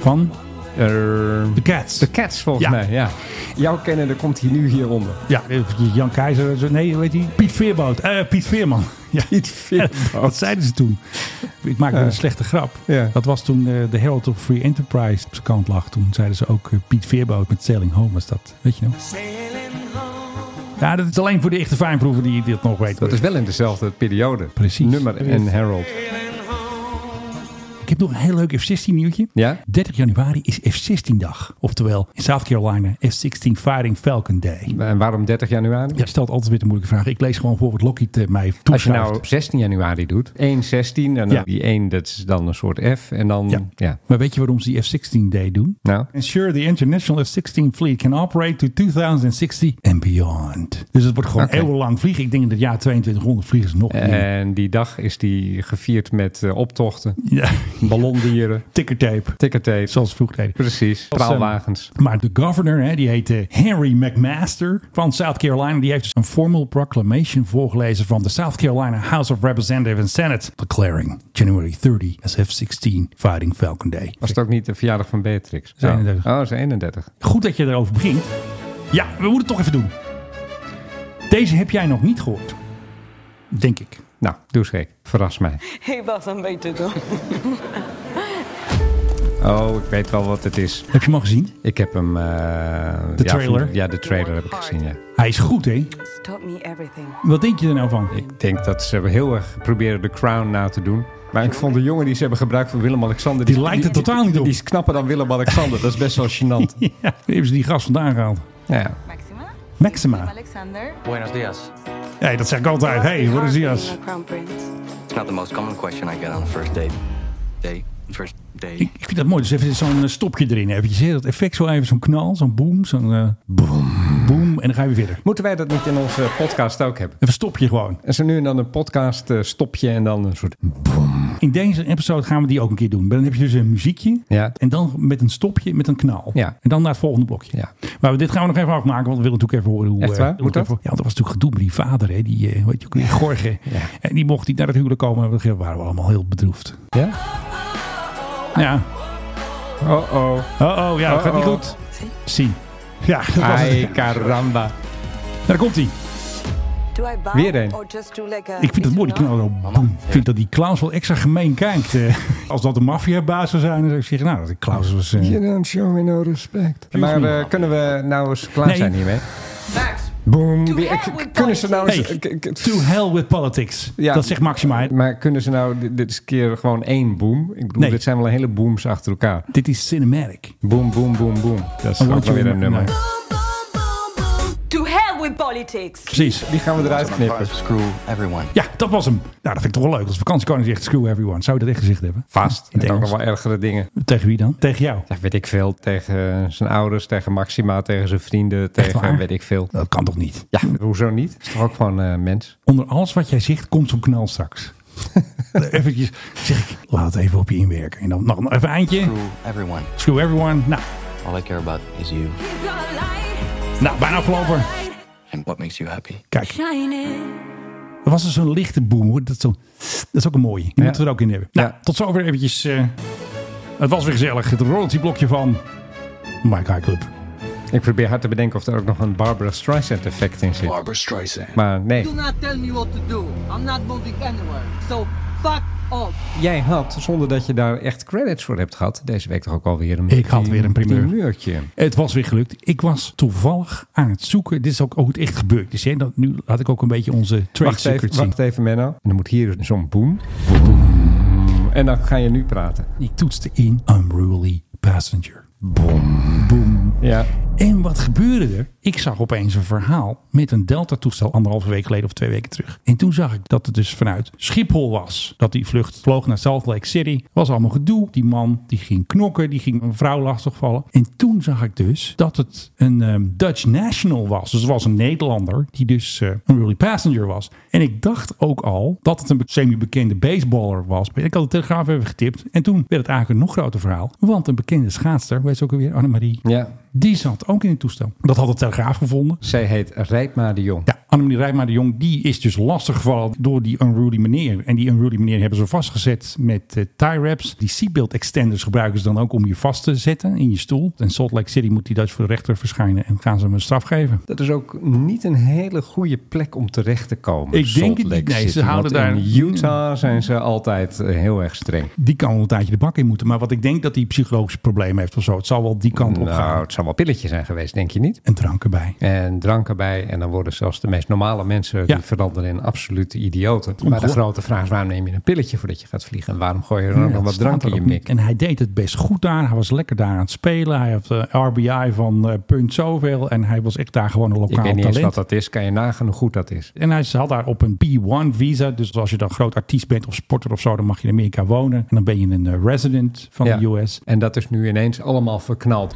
[SPEAKER 3] Van
[SPEAKER 4] Er-
[SPEAKER 3] de Cats.
[SPEAKER 4] De Cats volgens
[SPEAKER 3] Ja.
[SPEAKER 4] mij, ja. Jouw kennende komt hier nu hieronder.
[SPEAKER 3] Ja, eh, Jan Keizer. zo- Nee, hoe heet die? Piet Veerboot. Eh, Piet Veerman. [LAUGHS] Ja.
[SPEAKER 4] Piet
[SPEAKER 3] [LAUGHS]
[SPEAKER 4] Veerboot.
[SPEAKER 3] Wat zeiden ze toen? Ik maak weer een slechte grap.
[SPEAKER 4] Ja.
[SPEAKER 3] Dat was toen eh, de Herald of Free Enterprise op zijn kant lag. Toen zeiden ze ook eh, Piet Veerboot met Sailing Home. Was dat, weet je nog? Ja, dat is alleen voor de echte fijnproeven die dit nog weten.
[SPEAKER 4] Dat is wel in dezelfde periode.
[SPEAKER 3] Precies.
[SPEAKER 4] Nummer en Harold.
[SPEAKER 3] Ik heb nog een heel leuk F-16 nieuwtje.
[SPEAKER 4] Ja?
[SPEAKER 3] 30 januari is F-16 dag. Oftewel in South Carolina F-16 Firing Falcon Day.
[SPEAKER 4] En waarom 30 januari?
[SPEAKER 3] Ja, stelt altijd weer de moeilijke vraag. Ik lees gewoon voor wat Lockheed eh, mij
[SPEAKER 4] Als je
[SPEAKER 3] toeschuift.
[SPEAKER 4] nou 16 januari doet, 1, 16, en dan
[SPEAKER 3] Ja.
[SPEAKER 4] die 1, dat is dan een soort F. En dan, ja.
[SPEAKER 3] Ja. Maar weet je waarom ze die F-16 Day doen?
[SPEAKER 4] Nou,
[SPEAKER 3] Ensure the international F-16 fleet can operate to 2060 and beyond. Dus het wordt gewoon
[SPEAKER 4] Oké. Eh.
[SPEAKER 3] eeuwenlang vliegen. Ik denk in het jaar 2200 vliegen ze nog meer.
[SPEAKER 4] en die dag is die gevierd met eh, optochten,
[SPEAKER 3] Ja, [LAUGHS]
[SPEAKER 4] ballondieren,
[SPEAKER 3] tickertape.
[SPEAKER 4] tickertape.
[SPEAKER 3] Zoals ze vroeger deden.
[SPEAKER 4] Precies,
[SPEAKER 3] Als, ehm,
[SPEAKER 4] praalwagens.
[SPEAKER 3] Maar de governor, hè, die heet eh, Henry McMaster van South Carolina, die heeft dus een formal proclamation voorgelezen van de South Carolina House of Representatives and Senate, declaring January 30 as F-16 Fighting Falcon Day.
[SPEAKER 4] Was het ook niet de verjaardag van Beatrix?
[SPEAKER 3] Is 31.
[SPEAKER 4] Oh, is 31.
[SPEAKER 3] Goed dat je erover begint. Ja, we moeten het toch even doen. Deze heb jij nog niet gehoord. Denk ik.
[SPEAKER 4] Nou, doe eens gek. Verras mij.
[SPEAKER 2] Hey Bas, een beetje door.
[SPEAKER 4] Oh, ik weet wel wat het is.
[SPEAKER 3] Heb je hem al gezien?
[SPEAKER 4] Ik heb hem... eh,
[SPEAKER 3] De
[SPEAKER 4] ja,
[SPEAKER 3] trailer?
[SPEAKER 4] van- Ja, de trailer heb ik gezien, ja.
[SPEAKER 3] Hij is goed, hè?
[SPEAKER 2] Taught me everything.
[SPEAKER 3] Wat denk je er nou van?
[SPEAKER 4] Ik denk dat ze hebben heel erg proberen de crown na te doen. Maar ik vond de jongen die ze hebben gebruikt voor Willem-Alexander...
[SPEAKER 3] Die lijkt er totaal niet op.
[SPEAKER 4] Die is knapper dan Willem-Alexander. Dat is best wel gênant.
[SPEAKER 3] [LAUGHS] [LAUGHS] Ja, waar hebben ze die gast vandaan gehaald?
[SPEAKER 4] Nou ja.
[SPEAKER 11] Maxima.
[SPEAKER 3] Maxima.
[SPEAKER 11] Alexander.
[SPEAKER 6] Buenos dias.
[SPEAKER 3] hey, dat zeg ik altijd. hey, wat is die als?
[SPEAKER 11] Being a Crown prince.
[SPEAKER 6] It's not the most common question I get on a first date. Day. First day.
[SPEAKER 3] Ik, ik vind dat mooi. Dus even zo'n eh, stopje erin. Eventjes, hè? dat effect zo even. Zo'n knal, zo'n boom, zo'n... eh, boom. Boom. En dan ga je weer verder.
[SPEAKER 4] Moeten wij dat niet in onze podcast ook hebben?
[SPEAKER 3] Even stop je gewoon.
[SPEAKER 4] En zo nu en dan een podcast eh, stopje en dan een soort...
[SPEAKER 3] In deze episode gaan we die ook een keer doen. Maar dan heb je dus een muziekje.
[SPEAKER 4] Ja.
[SPEAKER 3] En dan met een stopje, met een knal.
[SPEAKER 4] Ja.
[SPEAKER 3] En dan naar het volgende blokje.
[SPEAKER 4] Ja.
[SPEAKER 3] Maar dit gaan we nog even afmaken, want we willen natuurlijk even horen hoe...
[SPEAKER 4] Echt
[SPEAKER 3] eh,
[SPEAKER 4] waar?
[SPEAKER 3] hoe
[SPEAKER 4] Moet
[SPEAKER 3] het
[SPEAKER 4] dat?
[SPEAKER 3] ervoor- Ja, want er was natuurlijk gedoe met die vader, hè. Die, eh, weet je ook, weer, Gorge. En die mocht niet naar het huwelijk komen. En we waren we allemaal heel bedroefd.
[SPEAKER 4] Ja?
[SPEAKER 3] Ja.
[SPEAKER 4] Oh-oh.
[SPEAKER 3] Oh, oh, ja, dat gaat niet
[SPEAKER 4] Uh-oh.
[SPEAKER 3] goed. Zie. Ja, [LAUGHS] dat was het.
[SPEAKER 4] Ai, caramba.
[SPEAKER 3] Nou, daar komt hij.
[SPEAKER 11] Do I bow
[SPEAKER 4] Weer een.
[SPEAKER 11] or just do like a-
[SPEAKER 3] Ik vind het mooi, die knal. zo, boem. Ik vind dat die Klaus wel extra gemeen kijkt. eh. Als dat de maffiabaas zou zijn, dan zou ik zeggen... Nou, die Klaus was... eh,
[SPEAKER 4] don't show me no respect. Maar eh, kunnen we nou eens klaar
[SPEAKER 3] Nee.
[SPEAKER 4] zijn hiermee?
[SPEAKER 6] Max!
[SPEAKER 4] Boom. Wie- k- kunnen ze nou eens...
[SPEAKER 3] Hey,
[SPEAKER 4] k- k-
[SPEAKER 3] to hell with politics.
[SPEAKER 4] Ja.
[SPEAKER 3] dat zegt Maxima. hè?
[SPEAKER 4] Maar kunnen ze nou dit, dit is een keer gewoon één boom? Ik bedoel,
[SPEAKER 3] Nee.
[SPEAKER 4] dit zijn wel een hele booms achter elkaar.
[SPEAKER 3] Dit is cinematic.
[SPEAKER 4] Boom, boom, boom, boom. Dat is
[SPEAKER 3] I
[SPEAKER 4] ook
[SPEAKER 3] want
[SPEAKER 4] wel
[SPEAKER 3] you
[SPEAKER 4] weer een
[SPEAKER 3] in my-
[SPEAKER 4] nummer.
[SPEAKER 11] To hell with politics.
[SPEAKER 3] Precies.
[SPEAKER 4] Die gaan we eruit knippen.
[SPEAKER 6] Screw everyone.
[SPEAKER 3] Ja, dat was hem. Nou, dat vind ik toch wel leuk. Als vakantiekoning zegt screw everyone. Zou je dat echt gezegd hebben?
[SPEAKER 4] Vast.
[SPEAKER 3] In
[SPEAKER 4] Ik
[SPEAKER 3] het
[SPEAKER 4] heb ook nog
[SPEAKER 3] Engels.
[SPEAKER 4] wel ergere dingen.
[SPEAKER 3] Tegen wie dan? Tegen jou.
[SPEAKER 4] Dat weet ik veel. Tegen zijn ouders, tegen Maxima, tegen zijn vrienden, tegen eh,
[SPEAKER 3] waar?
[SPEAKER 4] weet ik veel.
[SPEAKER 3] Dat kan toch niet?
[SPEAKER 4] Ja, hoezo niet? Is toch ook gewoon eh, mens?
[SPEAKER 3] Onder alles wat jij zegt komt zo'n knal
[SPEAKER 4] [LAUGHS]
[SPEAKER 3] straks. Eventjes zeg ik, laat het even op je inwerken. En dan nog nog even een eindje.
[SPEAKER 6] Screw everyone.
[SPEAKER 3] Screw everyone. Nou,
[SPEAKER 6] All I care about is you
[SPEAKER 3] nou bijna afgelopen.
[SPEAKER 6] and what makes you happy.
[SPEAKER 3] Kijk. Er was dus zo'n lichte boem. Hoor. Dat, is zo, dat is ook een mooie. Die moeten we er ook in hebben. Nou,
[SPEAKER 4] Ja.
[SPEAKER 3] tot zover eventjes. eh, het was weer gezellig. Het royaltyblokje van Mike High Club.
[SPEAKER 4] Ik probeer hard te bedenken of er ook nog een Barbara Streisand effect in zit.
[SPEAKER 6] Barbara Streisand.
[SPEAKER 4] Maar nee.
[SPEAKER 12] not tell me what to do. I'm not moving anywhere. So fuck off.
[SPEAKER 4] Jij had, zonder dat je daar echt credits voor hebt gehad, deze week toch ook alweer een
[SPEAKER 3] Ik had weer een primeur.
[SPEAKER 4] primeurtje.
[SPEAKER 3] Het was weer gelukt. Ik was toevallig aan het zoeken. Dit is ook hoe het echt gebeurd is. Hè? Dat, nu laat ik ook een beetje onze trade
[SPEAKER 4] Wacht
[SPEAKER 3] secret
[SPEAKER 4] even,
[SPEAKER 3] zien.
[SPEAKER 4] wacht even, Menno. En dan moet hier zo'n boem. En dan ga je nu praten.
[SPEAKER 3] Ik toetste in Unruly Passenger.
[SPEAKER 4] Ja.
[SPEAKER 3] En wat gebeurde er? Ik zag opeens een verhaal met een Delta-toestel anderhalve week geleden of twee weken terug. En toen zag ik dat het dus vanuit Schiphol was. Dat die vlucht vloog naar Salt Lake City. Was allemaal gedoe. Die man die ging knokken, die ging een vrouw lastigvallen. En toen zag ik dus dat het een ehm, Dutch national was. Dus het was een Nederlander die dus eh, een really passenger was. En ik dacht ook al dat het een semi-bekende baseballer was. Maar ik had de Telegraaf even getipt. En toen werd het eigenlijk een nog groter verhaal. Want een bekende schaatster, weet ze ook alweer, Annemarie
[SPEAKER 4] ja.
[SPEAKER 3] die zat ook in het toestel. Dat had de Telegraaf gevonden.
[SPEAKER 4] Zij heet Rijpma de Jong.
[SPEAKER 3] Ja, Annemarie Rijma de Jong, die is dus lastiggevallen door die unruly meneer. En die unruly meneer hebben ze vastgezet met eh, tie wraps. Die seatbelt extenders gebruiken ze dan ook om je vast te zetten in je stoel. In Salt Lake City moet die Dutch voor de rechter verschijnen en gaan ze hem een straf geven.
[SPEAKER 4] Dat is ook niet een hele goede plek om terecht te komen.
[SPEAKER 3] Ik
[SPEAKER 4] Salt
[SPEAKER 3] denk het
[SPEAKER 4] Lake
[SPEAKER 3] niet. Nee, ze
[SPEAKER 4] City,
[SPEAKER 3] houden
[SPEAKER 4] want In
[SPEAKER 3] daar-
[SPEAKER 4] Utah zijn ze altijd eh, heel erg streng.
[SPEAKER 3] Die kan wel een tijdje de bak in moeten. Maar wat ik denk dat hij psychologische problemen heeft of zo. Het zal wel die kant op
[SPEAKER 4] Nou,
[SPEAKER 3] gaan.
[SPEAKER 4] het zou wel pilletje zijn geweest, denk je niet?
[SPEAKER 3] En drank erbij.
[SPEAKER 4] En drank erbij. En dan worden zelfs de meest normale mensen...
[SPEAKER 3] Ja.
[SPEAKER 4] die veranderen in absolute idioten. Maar de
[SPEAKER 3] Ongehoor-
[SPEAKER 4] grote vraag is... waarom neem je een pilletje voordat je gaat vliegen? En waarom gooi je er ook nog
[SPEAKER 3] Ja,
[SPEAKER 4] wat
[SPEAKER 3] dat
[SPEAKER 4] drank in
[SPEAKER 3] staat er
[SPEAKER 4] je
[SPEAKER 3] ook
[SPEAKER 4] mik?
[SPEAKER 3] niet. En hij deed het best goed daar. Hij was lekker daar aan het spelen. Hij had eh RBI van eh, punt zoveel. En hij was echt daar gewoon een
[SPEAKER 4] Ik
[SPEAKER 3] lokaal
[SPEAKER 4] weet niet eens
[SPEAKER 3] talent.
[SPEAKER 4] wat dat is. Kan je nagaan hoe goed dat is?
[SPEAKER 3] En hij zat daar op een B1 visa. Dus als je dan groot artiest bent of sporter of zo, dan mag je in Amerika wonen. En dan ben je een eh, resident van
[SPEAKER 4] Ja.
[SPEAKER 3] de US.
[SPEAKER 4] En dat is nu ineens allemaal verknald.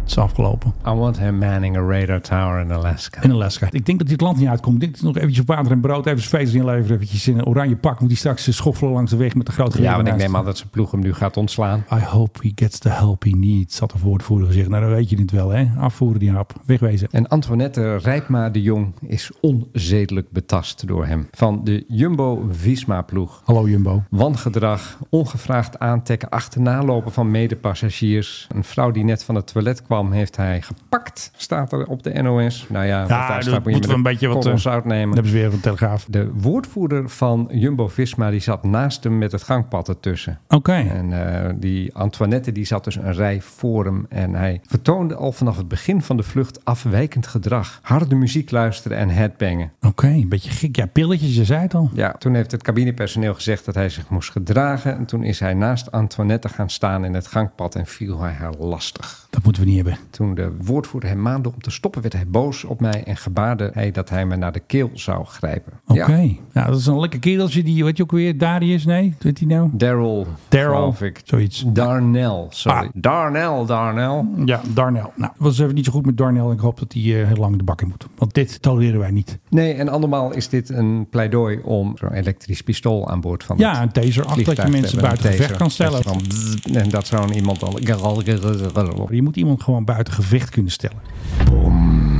[SPEAKER 3] Het is afgelopen.
[SPEAKER 4] I want him manning a radar tower in Alaska.
[SPEAKER 3] In Alaska. Ik denk dat dit land niet uitkomt. Ik denk dat nog eventjes op water en brood, even feest inleveren. Eventjes in een oranje pak. Moet hij straks eh, schoffelen langs de weg met de grote
[SPEAKER 4] Ja,
[SPEAKER 3] geweer
[SPEAKER 4] want ik
[SPEAKER 3] ernaast.
[SPEAKER 4] neem aan dat zijn ploeg hem nu gaat ontslaan.
[SPEAKER 3] I hope he gets the help he needs, had de woordvoerder gezegd. Nou, dan weet je het wel, hè. Afvoeren die hap. Wegwezen.
[SPEAKER 4] En Antoinette Rijpma de Jong is onzedelijk betast door hem. Van de Jumbo-Visma-ploeg.
[SPEAKER 3] Hallo
[SPEAKER 4] Nou,
[SPEAKER 3] Jumbo.
[SPEAKER 4] Wangedrag, ongevraagd aantekken, achternalopen van medepassagiers. Een vrouw die net van het toilet kwam, heeft hij gepakt. Staat er op de NOS. Nou ja, wat daar
[SPEAKER 3] dat
[SPEAKER 4] staat, moet je
[SPEAKER 3] moeten
[SPEAKER 4] met
[SPEAKER 3] we een beetje wat,
[SPEAKER 4] korrel
[SPEAKER 3] eh,
[SPEAKER 4] zout
[SPEAKER 3] Dan
[SPEAKER 4] nemen.
[SPEAKER 3] hebben ze weer een telegraaf.
[SPEAKER 4] De woordvoerder van Jumbo-Visma die zat naast hem met het gangpad ertussen.
[SPEAKER 3] Oké.
[SPEAKER 4] En eh, die Antoinette die zat dus een rij voor hem. En hij vertoonde al vanaf het begin van de vlucht afwijkend gedrag. Harde muziek luisteren en headbangen.
[SPEAKER 3] Oké, een beetje gek. Ja, pilletjes, je zei het al.
[SPEAKER 4] Ja, toen heeft het cabinepersoneel gezegd dat hij zich moest gedragen. En toen is hij naast Antoinette gaan staan in het gangpad en viel hij haar lastig.
[SPEAKER 3] Dat moeten we niet hebben.
[SPEAKER 4] Toen de woordvoerder hem maande om te stoppen, werd hij boos op mij en gebaarde hij dat hij me naar de keel zou grijpen.
[SPEAKER 3] Oké.
[SPEAKER 4] Ja.
[SPEAKER 3] Ja, dat is een lekker kereltje. Die, weet je ook weer, Darius? Nee, weet hij nou?
[SPEAKER 4] Daryl,
[SPEAKER 3] Daryl,
[SPEAKER 4] geloof ik.
[SPEAKER 3] zoiets.
[SPEAKER 4] Darnell, sorry.
[SPEAKER 3] Ah.
[SPEAKER 4] Darnell, Darnell.
[SPEAKER 3] Ja, Darnell. Nou, was even niet zo goed met Darnell. Ik hoop dat hij eh, heel lang de bak in moet. Want dit tolereren wij niet.
[SPEAKER 4] Nee, en andermaal is dit een pleidooi om zo'n elektrisch pistool aan boord van
[SPEAKER 3] Ja,
[SPEAKER 4] het
[SPEAKER 3] een taser. Af dat
[SPEAKER 4] vliegtuig
[SPEAKER 3] je
[SPEAKER 4] te
[SPEAKER 3] mensen
[SPEAKER 4] hebben.
[SPEAKER 3] buiten
[SPEAKER 4] Een
[SPEAKER 3] gevecht
[SPEAKER 4] taser.
[SPEAKER 3] kan stellen.
[SPEAKER 4] Dat je dan- En dat zo'n iemand al...
[SPEAKER 3] Je moet iemand gewoon buiten gevecht kunnen stellen.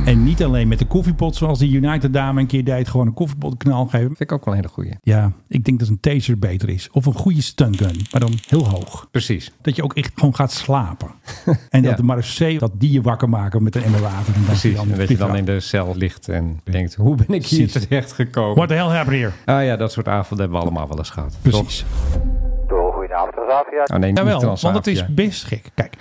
[SPEAKER 3] En niet alleen met de koffiepot zoals die United dame een keer deed. Gewoon een koffiepot knal geven.
[SPEAKER 4] Vind ik ook wel een hele goeie.
[SPEAKER 3] Ja, ik denk dat een taser beter is. Of een goede stungun, maar dan heel hoog.
[SPEAKER 4] Precies.
[SPEAKER 3] Dat je ook echt gewoon gaat
[SPEAKER 4] [LAUGHS]
[SPEAKER 3] slapen. En dat
[SPEAKER 4] Ja.
[SPEAKER 3] de marseille, dat die je wakker maken met een emmer water. En dan
[SPEAKER 4] Precies.
[SPEAKER 3] die
[SPEAKER 4] En dat je dan in de cel ligt en denkt, hoe ben ik hier
[SPEAKER 3] Precies.
[SPEAKER 4] terecht
[SPEAKER 3] What
[SPEAKER 4] gekomen?
[SPEAKER 3] the hell happened here?
[SPEAKER 4] Ah ja, dat soort avonden hebben we allemaal wel eens gehad.
[SPEAKER 3] Precies.
[SPEAKER 4] Toch? Oh nee, niet
[SPEAKER 3] Jawel, want
[SPEAKER 4] Transavia.
[SPEAKER 3] het is best gek. Kijk,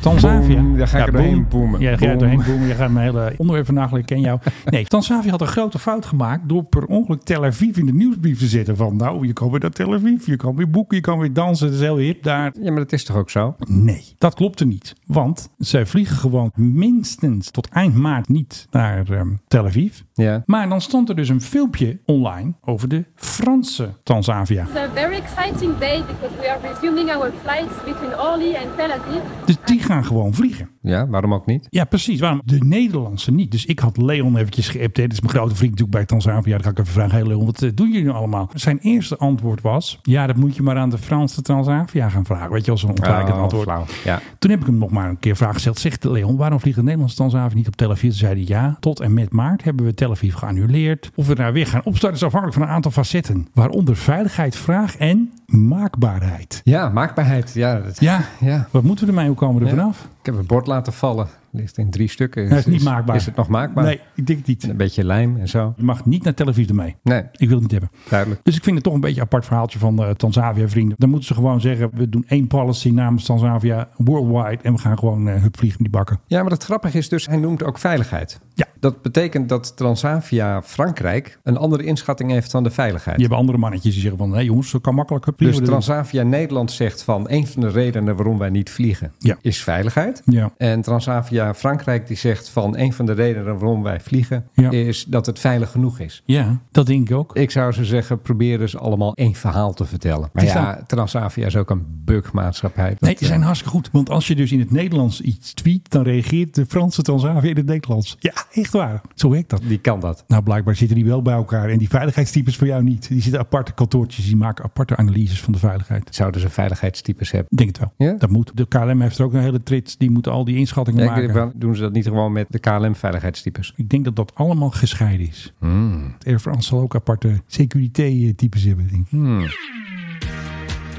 [SPEAKER 3] Tanzavia.
[SPEAKER 4] Boom, daar ga ik er doorheen boemen.
[SPEAKER 3] Ja, ga je er
[SPEAKER 4] Boom.
[SPEAKER 3] doorheen boemen. Je gaat mijn hele onderwerp vandaag leren kennen
[SPEAKER 4] [LAUGHS]
[SPEAKER 3] jou. Nee, Tanzavia had een grote fout gemaakt door per ongeluk Tel Aviv in de nieuwsbrief te zetten. Van nou, je kan weer naar Tel Aviv, je kan weer boeken, je kan weer dansen. Het is heel hip daar.
[SPEAKER 4] Ja, maar dat is toch ook zo?
[SPEAKER 3] Nee, dat klopte niet. Want zij vliegen gewoon minstens tot eind maart niet naar ehm, Tel Aviv.
[SPEAKER 4] Ja.
[SPEAKER 3] Maar dan stond er dus een filmpje online over de Franse Tanzavia.
[SPEAKER 13] It's a very exciting day because we are resuming our flights between Orly and Tel Aviv.
[SPEAKER 3] Dus die gaan gewoon vliegen.
[SPEAKER 4] Ja, waarom ook niet?
[SPEAKER 3] Ja, precies. Waarom de Nederlandse niet? Dus ik had Leon eventjes geappt. hè. Dit is mijn grote vriend natuurlijk bij Tanzania. Dan ga ik even vragen. Hey Leon, wat eh, doen jullie nu allemaal? Zijn eerste antwoord was... Ja, dat moet je maar aan de Franse Transavia gaan vragen. Weet je, als een ontwijkend
[SPEAKER 4] Oh,
[SPEAKER 3] antwoord.
[SPEAKER 4] flauw. Ja.
[SPEAKER 3] Toen heb ik hem nog maar een keer vraag gesteld. Zegt Leon, waarom vliegt de Nederlandse Transavia niet op Tel Aviv? Toen zei hij, ja, tot en met maart hebben we Tel Aviv geannuleerd. Of we daar weer gaan opstarten is afhankelijk van een aantal facetten. Waaronder veiligheid, vraag en maakbaarheid.
[SPEAKER 4] Ja, maakbaarheid. Ja, dat-
[SPEAKER 3] Ja,
[SPEAKER 4] ja.
[SPEAKER 3] wat moeten we ermee? Hoe komen we er
[SPEAKER 4] Ja.
[SPEAKER 3] vanaf?
[SPEAKER 4] Ik heb het bord laten vallen. Ligt in drie stukken.
[SPEAKER 3] Hij is niet maakbaar.
[SPEAKER 4] Is het nog maakbaar?
[SPEAKER 3] Nee, ik denk niet.
[SPEAKER 4] Een beetje lijm en zo.
[SPEAKER 3] Je mag niet naar Tel Aviv ermee.
[SPEAKER 4] Nee,
[SPEAKER 3] Ik wil het niet hebben.
[SPEAKER 4] duidelijk.
[SPEAKER 3] Dus ik vind het toch een beetje een apart verhaaltje van eh Tanzavia vrienden. Dan moeten ze gewoon zeggen, we doen één policy namens Tanzavia worldwide. En we gaan gewoon eh hup vliegen die bakken.
[SPEAKER 4] Ja, maar het grappige is dus, hij noemt ook veiligheid.
[SPEAKER 3] Ja.
[SPEAKER 4] Dat betekent dat Transavia Frankrijk een andere inschatting heeft dan de veiligheid.
[SPEAKER 3] Je hebt andere mannetjes die zeggen van, hé jongens, dat kan makkelijk. Hup,
[SPEAKER 4] Dus
[SPEAKER 3] vliegen we erin.
[SPEAKER 4] Transavia Nederland zegt van een van de redenen waarom wij niet vliegen
[SPEAKER 3] Ja.
[SPEAKER 4] is veiligheid.
[SPEAKER 3] Ja.
[SPEAKER 4] En Transavia Frankrijk die zegt van een van de redenen waarom wij vliegen
[SPEAKER 3] Ja.
[SPEAKER 4] is dat het veilig genoeg is.
[SPEAKER 3] ja, dat denk ik ook.
[SPEAKER 4] Ik zou ze zeggen, probeer dus allemaal één verhaal te vertellen. Maar
[SPEAKER 3] Het is
[SPEAKER 4] ja, Transavia is ook een bugmaatschappij. Dat,
[SPEAKER 3] Nee, die zijn
[SPEAKER 4] eh,
[SPEAKER 3] hartstikke goed. Want als je dus in het Nederlands iets tweet, dan reageert de Franse Tanzavia in het Nederlands. Ja, echt waar. Zo werkt dat.
[SPEAKER 4] Die kan dat.
[SPEAKER 3] Nou, blijkbaar zitten die wel bij elkaar. En die veiligheidstypes voor jou niet. Die zitten aparte kantoortjes. Die maken aparte analyses van de veiligheid.
[SPEAKER 4] Zouden ze veiligheidstypes hebben?
[SPEAKER 3] Ik Denk het wel.
[SPEAKER 4] Ja?
[SPEAKER 3] Dat moet. De KLM heeft er ook een hele trits. Die moeten al die inschattingen
[SPEAKER 4] Ja, ik
[SPEAKER 3] maken.
[SPEAKER 4] weet wel, doen ze dat niet gewoon met de KLM-veiligheidstypes?
[SPEAKER 3] Ik denk dat dat allemaal gescheiden is.
[SPEAKER 4] Hmm.
[SPEAKER 3] Air France zal ook aparte securité-types hebben. Denk ik.
[SPEAKER 4] Hmm.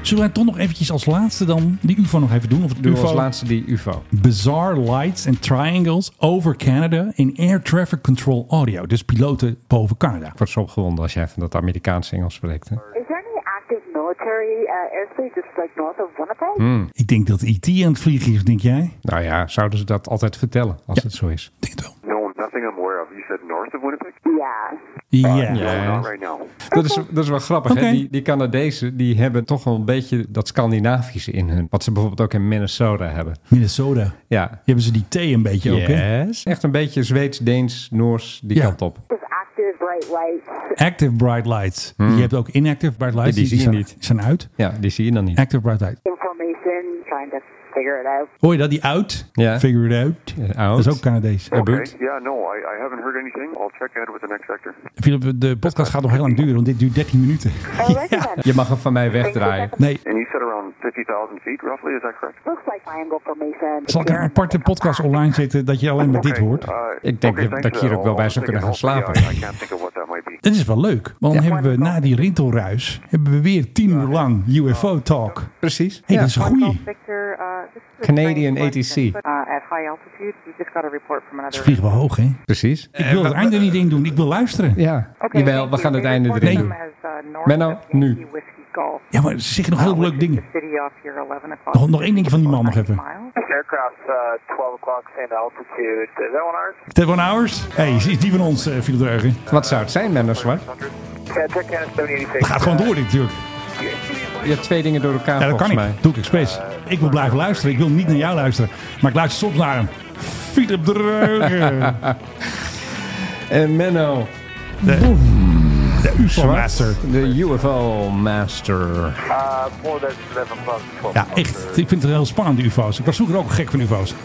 [SPEAKER 3] Zullen wij toch nog eventjes als laatste dan die UFO nog even doen? Of het
[SPEAKER 4] Doen we
[SPEAKER 3] UFO?
[SPEAKER 4] als laatste die UFO.
[SPEAKER 3] Bizarre lights and triangles over Canada in air traffic control audio. Dus piloten boven Canada.
[SPEAKER 4] Ik word zo opgewonden als jij van dat Amerikaanse Engels spreekt. Hè?
[SPEAKER 1] Is there any active military uh, airspace just like north of Winnipeg?
[SPEAKER 3] Ik denk dat IT aan het vliegen is, denk jij?
[SPEAKER 4] Nou ja, zouden ze dat altijd vertellen als het zo is?
[SPEAKER 3] Ik denk het wel.
[SPEAKER 14] No, nothing I'm aware of. You said north of Winnipeg?
[SPEAKER 1] Yeah.
[SPEAKER 3] Ja.
[SPEAKER 14] Not right now.
[SPEAKER 4] Dat is, dat is wel grappig.
[SPEAKER 3] Oké.
[SPEAKER 4] Hè? Die, die Canadezen die hebben toch wel een beetje dat Scandinavische in hun. Wat ze bijvoorbeeld ook in Minnesota hebben.
[SPEAKER 3] Minnesota. Die
[SPEAKER 4] Ja.
[SPEAKER 3] hebben ze die T een beetje ook, hè?
[SPEAKER 4] Yes. Echt een beetje Zweeds, Deens, Noors, die
[SPEAKER 3] Ja.
[SPEAKER 4] kant op.
[SPEAKER 1] Just active bright lights.
[SPEAKER 3] Active bright lights. Je hebt ook inactive bright lights.
[SPEAKER 4] Hmm. Die zie je
[SPEAKER 3] zijn,
[SPEAKER 4] niet.
[SPEAKER 3] zijn uit.
[SPEAKER 4] Ja, die zie je dan niet.
[SPEAKER 3] Active bright light.
[SPEAKER 1] Information, trying to figure it out.
[SPEAKER 3] Hoor je dat? Die out?
[SPEAKER 4] Ja.
[SPEAKER 3] Figure it out.
[SPEAKER 4] out.
[SPEAKER 3] Dat is ook Canadees.
[SPEAKER 4] Eh,
[SPEAKER 14] Okay.
[SPEAKER 4] Boot.
[SPEAKER 14] Yeah, no, I, I haven't heard anything. I'll check ahead with the next sector.
[SPEAKER 3] Philip, de podcast gaat nog heel lang duren, want dit duurt 13 minuten.
[SPEAKER 1] Oh, right
[SPEAKER 3] [LAUGHS]
[SPEAKER 1] then.
[SPEAKER 4] Je mag hem van mij wegdraaien.
[SPEAKER 3] Nee,
[SPEAKER 14] And you said around 50,000 feet, roughly. Is that correct?
[SPEAKER 1] Looks like triangle formation.
[SPEAKER 3] zal ik er een aparte podcast online zetten dat je alleen maar dit hoort?
[SPEAKER 4] Ik denk dat- dat ik hier ook wel bij zou kunnen gaan slapen.
[SPEAKER 14] uh, I can't think of what that might be.
[SPEAKER 3] Dat is wel leuk, want dan hebben we na die rintelruis hebben we weer 10 uur lang UFO-talk. Hé,
[SPEAKER 4] Precies.
[SPEAKER 3] hey,
[SPEAKER 4] Ja.
[SPEAKER 3] dat is een goeie.
[SPEAKER 15] Victor, uh, this is a
[SPEAKER 4] Canadian
[SPEAKER 15] strange question,
[SPEAKER 4] ATC.
[SPEAKER 15] but, Uh, at high altitude, we just got a report from
[SPEAKER 3] Ze
[SPEAKER 15] another.
[SPEAKER 3] vliegen wel hoog, hè?
[SPEAKER 4] Precies.
[SPEAKER 3] Ik wil het einde niet in doen, ik wil luisteren.
[SPEAKER 4] Eh, Ja.
[SPEAKER 15] Okay,
[SPEAKER 4] Jawel,
[SPEAKER 15] thank
[SPEAKER 4] we
[SPEAKER 15] you.
[SPEAKER 4] gaan het
[SPEAKER 15] We
[SPEAKER 4] einde
[SPEAKER 15] report
[SPEAKER 4] erin
[SPEAKER 15] them
[SPEAKER 4] doen.
[SPEAKER 15] as, uh, north
[SPEAKER 4] Menno,
[SPEAKER 15] of Yankee
[SPEAKER 4] nu.
[SPEAKER 15] Whiskey Golf,
[SPEAKER 3] Ja, maar ze zeggen nog heel
[SPEAKER 15] uh,
[SPEAKER 1] Nou,
[SPEAKER 3] veel leuke
[SPEAKER 15] which is
[SPEAKER 3] dingen.
[SPEAKER 15] the city off your 11 o'clock.
[SPEAKER 3] Nog, nog één ding van die man nog even.
[SPEAKER 16] Aircraft uh, 12 o'clock, same altitude. Is that one ours?
[SPEAKER 3] Tevon Hours? Hé, hey, is is die van ons, eh Philip Dreugen?
[SPEAKER 4] Wat zou het zijn, Menno Zwart?
[SPEAKER 16] Yeah, Tech Canada 786.
[SPEAKER 3] Het gaat gewoon door, dit natuurlijk.
[SPEAKER 4] Je hebt twee dingen door elkaar
[SPEAKER 3] Ja, dat kan
[SPEAKER 4] volgens
[SPEAKER 3] ik.
[SPEAKER 4] mij.
[SPEAKER 3] Doe ik expres. Ik wil blijven luisteren. Ik wil niet naar jou luisteren. Maar ik luister soms naar hem. Philip
[SPEAKER 4] [LAUGHS]
[SPEAKER 3] Dreugen.
[SPEAKER 4] En Eh, Menno,
[SPEAKER 3] De UFO-master.
[SPEAKER 4] Zwart, de UFO Master.
[SPEAKER 16] Uh, Paul, that's 11 o'clock, 12
[SPEAKER 3] Ja, echt. Ik vind het heel spannend, die UFO's. Ik was vroeger ook gek van UFO's. Er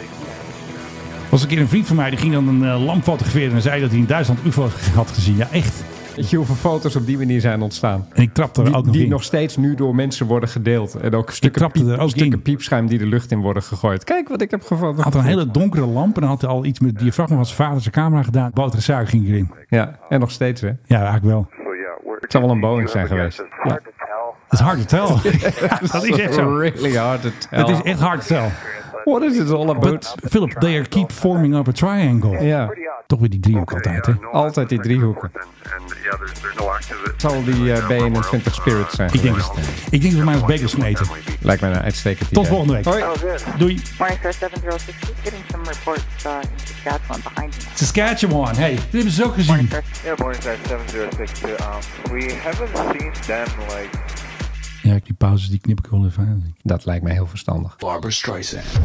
[SPEAKER 3] was een keer een vriend van mij, die ging dan een eh, lamp fotograferen en zei dat hij in Duitsland UFO's [LAUGHS] had gezien. Ja, echt.
[SPEAKER 4] Dat je hoeveel foto's op die manier zijn ontstaan.
[SPEAKER 3] En ik trapte er
[SPEAKER 4] Die,
[SPEAKER 3] ook nog
[SPEAKER 4] die
[SPEAKER 3] in.
[SPEAKER 4] nog steeds nu door mensen worden gedeeld. En ook stukken,
[SPEAKER 3] trapte
[SPEAKER 4] piep-
[SPEAKER 3] er ook
[SPEAKER 4] stukken
[SPEAKER 3] in.
[SPEAKER 4] piepschuim die de lucht in worden gegooid. Kijk wat ik heb gevonden.
[SPEAKER 3] Hij had een hele donkere lamp en dan had hij al iets met het diafragma van zijn vader zijn camera gedaan. Boter suik ging erin.
[SPEAKER 4] Ja, en nog steeds hè.
[SPEAKER 3] Ja, eigenlijk wel.
[SPEAKER 14] So, yeah, we're,
[SPEAKER 4] Het zal wel een Boeing zijn geweest.
[SPEAKER 3] Ja. Dat is hard to
[SPEAKER 4] [LAUGHS]
[SPEAKER 3] tell. Ja, [LAUGHS] [LAUGHS] dat is echt zo.
[SPEAKER 4] Really hard to tell.
[SPEAKER 3] Dat is echt hard to tell.
[SPEAKER 4] What is it all about?
[SPEAKER 3] But Philip, they are keep forming up a triangle.
[SPEAKER 4] Ja.
[SPEAKER 3] Toch weer die driehoek altijd, hè?
[SPEAKER 4] Altijd die driehoeken. Zal die eh, B21
[SPEAKER 14] uh,
[SPEAKER 4] Spirit zijn?
[SPEAKER 3] Ik denk dat Ik denk dat we maar eens bagels gaan eten.
[SPEAKER 4] Lijkt mij een uitstekend
[SPEAKER 3] Tot
[SPEAKER 4] idee.
[SPEAKER 3] volgende week.
[SPEAKER 4] Hoi.
[SPEAKER 3] Doei.
[SPEAKER 1] Morning Star 7060, just getting some reports uh, in Saskatchewan behind you.
[SPEAKER 3] Saskatchewan. Hey, dit hebben ze ook gezien.
[SPEAKER 17] Yeah, Morningstar 7062. Um, we haven't seen them like
[SPEAKER 3] Ja, die pauzes die knip ik wel even aan.
[SPEAKER 4] Dat lijkt mij heel verstandig.
[SPEAKER 5] Barbara Streisand.